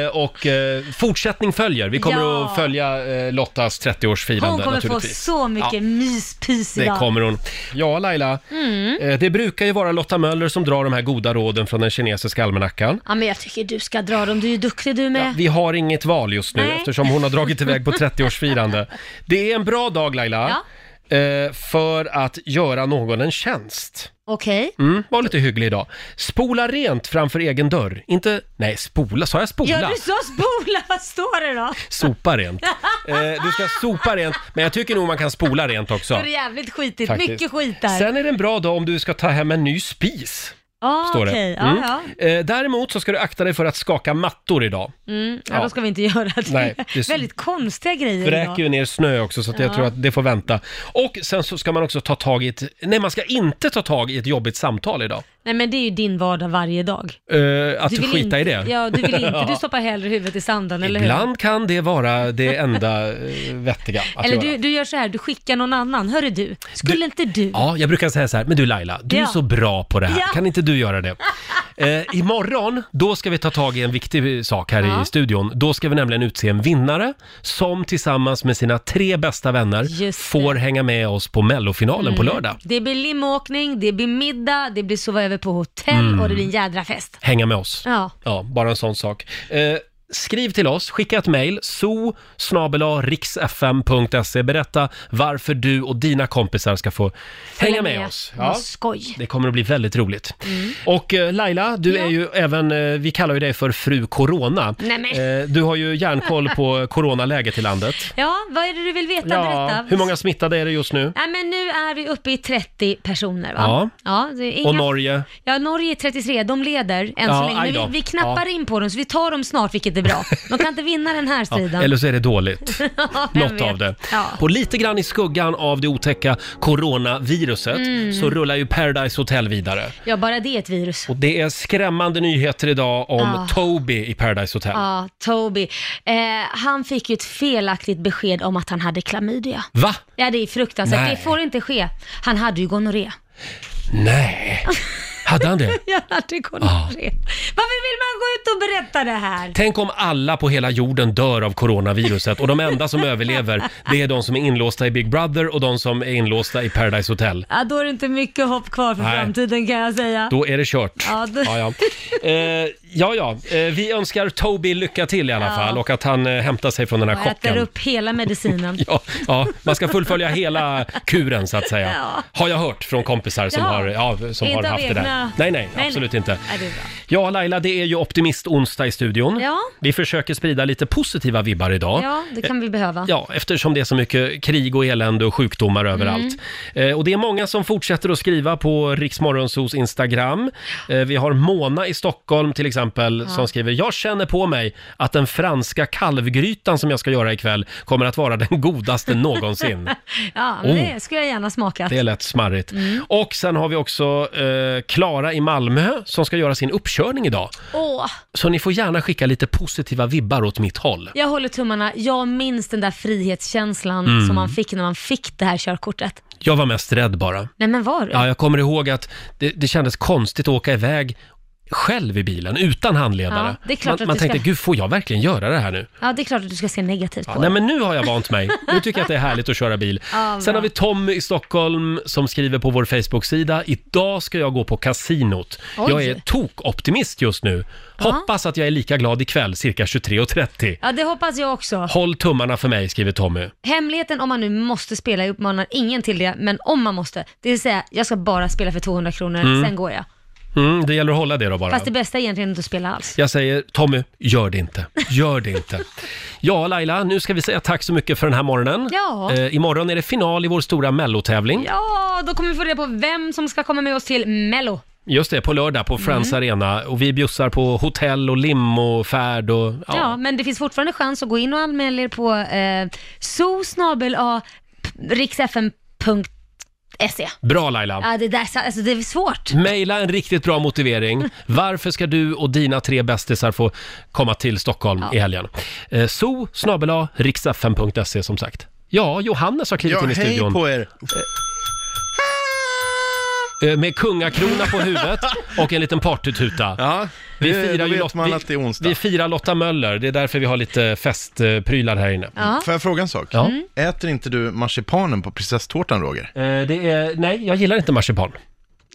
S1: eh, och eh, fortsättning följer. Vi kommer
S2: Ja.
S1: att följa eh, Lottas 30-årsfirande
S2: Hon kommer få
S1: naturligtvis.
S2: så mycket
S1: Ja.
S2: myspys
S1: Det
S2: idag.
S1: kommer hon. Ja, Laila.
S2: Mm.
S1: Eh, Det brukar ju vara Lotta Möller som drar de här goda råden från den kinesiska almanackan.
S2: Ja, men jag tycker du ska dra dem. Du är ju duktig du med.
S1: Vi har inget val just nu
S2: Nej.
S1: eftersom hon har dragit iväg på 30-årsfirande. Det är en bra dag Laila, eh, för att göra någon en tjänst.
S2: Okej.
S1: Mm, var lite hygglig idag. Spola rent framför egen dörr. Inte, nej spola, sa jag spola?
S2: Ja, du sa spola. Vad står det då?
S1: Sopa rent. Eh, du ska sopa rent, men jag tycker nog man kan spola rent
S2: Det
S1: också.
S2: är jävligt skitigt.
S1: Faktiskt.
S2: Mycket skit där.
S1: Sen är det en bra dag om du ska ta hem en ny spis.
S2: ah,
S1: står det.
S2: okej.
S1: Mm.
S2: Ja,
S1: Eh, Däremot så ska du akta dig för att skaka mattor idag.
S2: ja. Mm. ja,
S1: Ja.
S2: då ska vi inte göra det.
S1: Nej, det är så-
S2: Väldigt konstiga grejer
S1: Vräker ju
S2: idag.
S1: ner snö också så att jag
S2: Ja.
S1: tror att det får vänta. Och sen så ska man också ta tag i ett, nej man ska inte ta tag i ett jobbigt samtal idag.
S2: Nej, men det är ju din vardag varje dag.
S1: Eh, att
S2: vill
S1: skita
S2: inte,
S1: i det.
S2: Ja, du vill inte. Du
S1: Ja.
S2: stoppar hellre huvudet i sanden, eller hur?
S1: Ibland kan det vara det enda eh, vettiga att
S2: Eller
S1: göra.
S2: du, du gör så här, du skickar någon annan. Hörru du, skulle inte du?
S1: Ja, jag brukar säga så här, men du Laila, du är
S2: Ja.
S1: så bra på det här.
S2: Ja.
S1: Kan inte du göra det? Eh, imorgon, då ska vi ta tag i en viktig sak här
S2: Ja.
S1: i studion. Då ska vi nämligen utse en vinnare som tillsammans med sina tre bästa vänner får hänga med oss på mellofinalen på
S2: Mm.
S1: lördag.
S2: Det blir limåkning, det blir middag, det blir sova över på hotell
S1: Mm.
S2: och det blir en jädra fest.
S1: Hänga med oss.
S2: Ja.
S1: Ja, bara en sån sak. Eh, skriv till oss, skicka ett mejl, so riksfm.se. Berätta varför du och dina kompisar ska få hänga med, oss.
S2: Vad skoj. Mm.
S1: Det kommer att bli väldigt roligt. Och eh, Laila, du är ju även, eh, vi kallar ju dig för fru Corona.
S2: Nej, men.
S1: Eh, Du har ju järnkoll på coronaläget i landet.
S2: Ja, vad är det du vill veta? Berätta.
S1: Hur många smittade är det just nu?
S2: Nej, men nu är vi uppe i 30 personer va?
S1: Ja.
S2: ja det är inga...
S1: Och Norge?
S2: Ja, Norge är 33. De leder än
S1: Ja,
S2: så länge.
S1: aj då.
S2: Men vi, vi knappar
S1: Ja.
S2: in på dem, så vi tar dem snart, vilket är bra. De kan inte vinna den här
S1: Ja,
S2: striden.
S1: eller så är det dåligt.
S2: Vem
S1: Något
S2: vet?
S1: av det.
S2: Ja.
S1: Och lite grann i skuggan av det otäcka coronaviruset
S2: Mm.
S1: så rullar ju Paradise Hotel vidare.
S2: ja, bara det är ett virus.
S1: Och det är skrämmande nyheter idag om
S2: Ja.
S1: Toby i Paradise Hotel.
S2: Ja, Toby. Eh, han fick ju ett felaktigt besked om att han hade klamydia.
S1: Va?
S2: Ja, det är fruktansvärt.
S1: Nej.
S2: Det får inte ske. Han hade ju gonorré.
S1: Nej! Hade han det?
S2: Jag hade gonorré. Varför vill man gå ut och berätta det här?
S1: Tänk om alla på hela jorden dör av coronaviruset och de enda som överlever det är de som är inlåsta i Big Brother och de som är inlåsta i Paradise Hotel.
S2: Ja, då är det inte mycket hopp kvar för
S1: Nej.
S2: framtiden kan jag säga.
S1: Då är det kört.
S2: Ja, då-
S1: ja, ja. Eh, ja, ja. Eh, vi önskar Toby lycka till i alla
S2: Ja.
S1: fall och att han eh, hämtar sig från den här
S2: Jag äter
S1: chocken.
S2: upp hela medicinen.
S1: Ja, ja, man ska fullfölja hela kuren så att säga.
S2: Ja.
S1: Har jag hört från kompisar som
S2: Jaha.
S1: har, ja, som
S2: Inte
S1: har
S2: av
S1: haft det där.
S2: egna-
S1: Nej, nej,
S2: Nej,
S1: absolut
S2: nej.
S1: inte.
S2: Ja, det är bra.
S1: Ja, Laila, det är ju optimist-onsdag i studion.
S2: Ja.
S1: Vi försöker sprida lite positiva vibbar idag.
S2: Ja, det kan vi behöva.
S1: Ja, eftersom det är så mycket krig och elände och sjukdomar överallt. Eh, och det är många som fortsätter att skriva på Riksmorgonsos Instagram. Eh, vi har Mona i Stockholm till exempel
S2: Ja.
S1: som skriver “Jag känner på mig att den franska kalvgrytan som jag ska göra ikväll kommer att vara den godaste någonsin.”
S2: Ja, men
S1: Oh.
S2: det skulle jag gärna smakat.
S1: Det är lätt smarrigt. Och sen har vi också eh, Klara i Malmö som ska göra sin uppkörning idag.
S2: Åh,
S1: Så ni får gärna skicka lite positiva vibbar åt mitt håll.
S2: jag håller tummarna. Jag minns den där frihetskänslan
S1: Mm.
S2: som man fick när man fick det här körkortet.
S1: Jag var mest rädd bara.
S2: Nej men var du?
S1: Ja, jag kommer ihåg att det, det kändes konstigt att åka iväg själv i bilen utan handledare.
S2: Ja, det är klart
S1: man
S2: att
S1: man
S2: du
S1: tänkte,
S2: ska-
S1: gud får jag verkligen göra det här nu?
S2: Ja, det är klart att du ska se negativt på
S1: Nej
S2: det.
S1: men nu har jag vant mig. Nu tycker jag att det är härligt att köra bil.
S2: Ja,
S1: Sen
S2: bra.
S1: har vi Tommy i Stockholm som skriver på vår Facebook-sida. Idag ska jag gå på kasinot.
S2: Oj.
S1: Jag är tokoptimist just nu. Hoppas att jag är lika glad ikväll cirka 23.30.
S2: Ja, det hoppas jag också.
S1: Håll tummarna för mig, skriver Tommy.
S2: Hemligheten om man nu måste spela, jag uppmanar ingen till det, men om man måste, det vill säga jag ska bara spela för 200 kronor,
S1: Mm.
S2: sen går jag.
S1: Mm, det gäller att hålla det då bara.
S2: Fast det bästa är egentligen inte att spela alls.
S1: Jag säger Tommy, gör det inte. Gör det inte. Ja, Laila, nu ska vi säga tack så mycket för den här morgonen.
S2: Ja.
S1: Eh, imorgon är det final i vår stora mellotävling.
S2: Ja, då kommer vi få reda på vem som ska komma med oss till Mello.
S1: Just det, på lördag på
S2: Mm.
S1: Friends Arena. Och vi bjussar på hotell och lim och färd och...
S2: Ja. men det finns fortfarande chans att gå in och anmäla er på eh, riksfm.se.
S1: Bra Laila!
S2: Ja, det, där, alltså, det är svårt.
S1: Maila en riktigt bra motivering. Varför ska du och dina tre bästisar få komma till Stockholm i helgen? Eh, so snabela riksfm.se som sagt. Ja, Johannes har klivit
S19: Ja,
S1: in i
S19: hej
S1: studion.
S19: på er.
S1: Eh, Med kungakrona på huvudet och en liten partytuta. vi
S19: det-
S1: firar
S19: då
S1: ju
S19: vet
S1: Lot-
S19: man
S1: vi-
S19: att det är onsdag.
S1: Vi firar Lotta Möller, det är därför vi har lite festprylar här inne.
S2: Ja.
S19: Får jag fråga en sak?
S1: Ja. Mm.
S19: Äter inte du marsipanen på prinsesstårtan, Roger?
S1: Eh, det är, nej, jag gillar inte marsipan.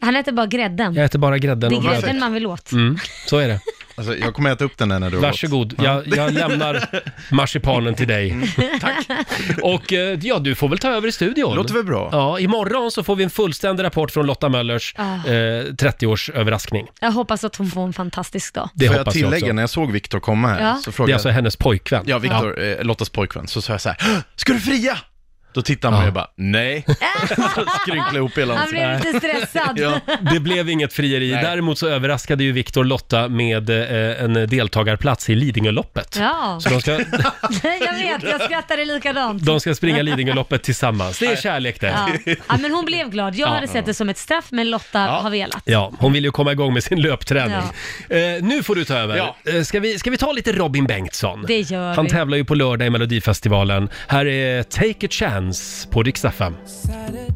S2: Han äter bara grädden.
S1: Jag äter bara grädden
S2: det är
S1: och
S2: grädden
S1: brödet.
S2: man vill åt.
S1: Mm, så är det.
S19: Alltså, jag kommer äta upp den där när du har
S1: Varsågod, jag, jag lämnar marsipanen till
S19: Mm.
S1: dig. Tack. Och eh, ja, du får väl ta över i studion.
S19: Låter väl bra.
S1: Ja, imorgon så får vi en fullständig rapport från Lotta Möllers
S2: Ah.
S1: eh, 30-årsöverraskning.
S2: Jag hoppas att hon får en fantastisk dag.
S1: Det
S19: Får jag
S1: hoppas jag
S19: tillägga,
S1: också.
S19: när jag såg Viktor komma här,
S2: Ja.
S19: så
S1: Det
S19: frågade
S1: är alltså hennes pojkvän.
S19: Ja, Viktor, eh, Lottas pojkvän, så sa jag så här, "Hå! ska du fria? Då tittade han på mig och bara, nej. Skrynklade ihop hela
S2: Han blev lite stressad.
S19: Ja.
S1: Det blev inget frieri. Däremot så överraskade ju Viktor Lotta med eh, en deltagarplats i Lidingöloppet.
S2: Ja.
S1: Så de ska,
S2: jag vet, jag skrattade likadant.
S1: de ska springa Lidingöloppet tillsammans. Det är kärlek det.
S2: Ja. ja, men hon blev glad. Jag
S1: Ja.
S2: hade sett det som ett straff, men Lotta har velat.
S1: Ja, hon vill ju komma igång med sin löpträning. Eh, nu får du ta över.
S2: Ja.
S1: Eh, ska, vi, ska vi ta lite Robin Bengtsson?
S2: Det gör
S1: Han
S2: vi.
S1: tävlar ju på lördag i Melodifestivalen. Här är Take a Chance på Rix FM.
S20: Saturday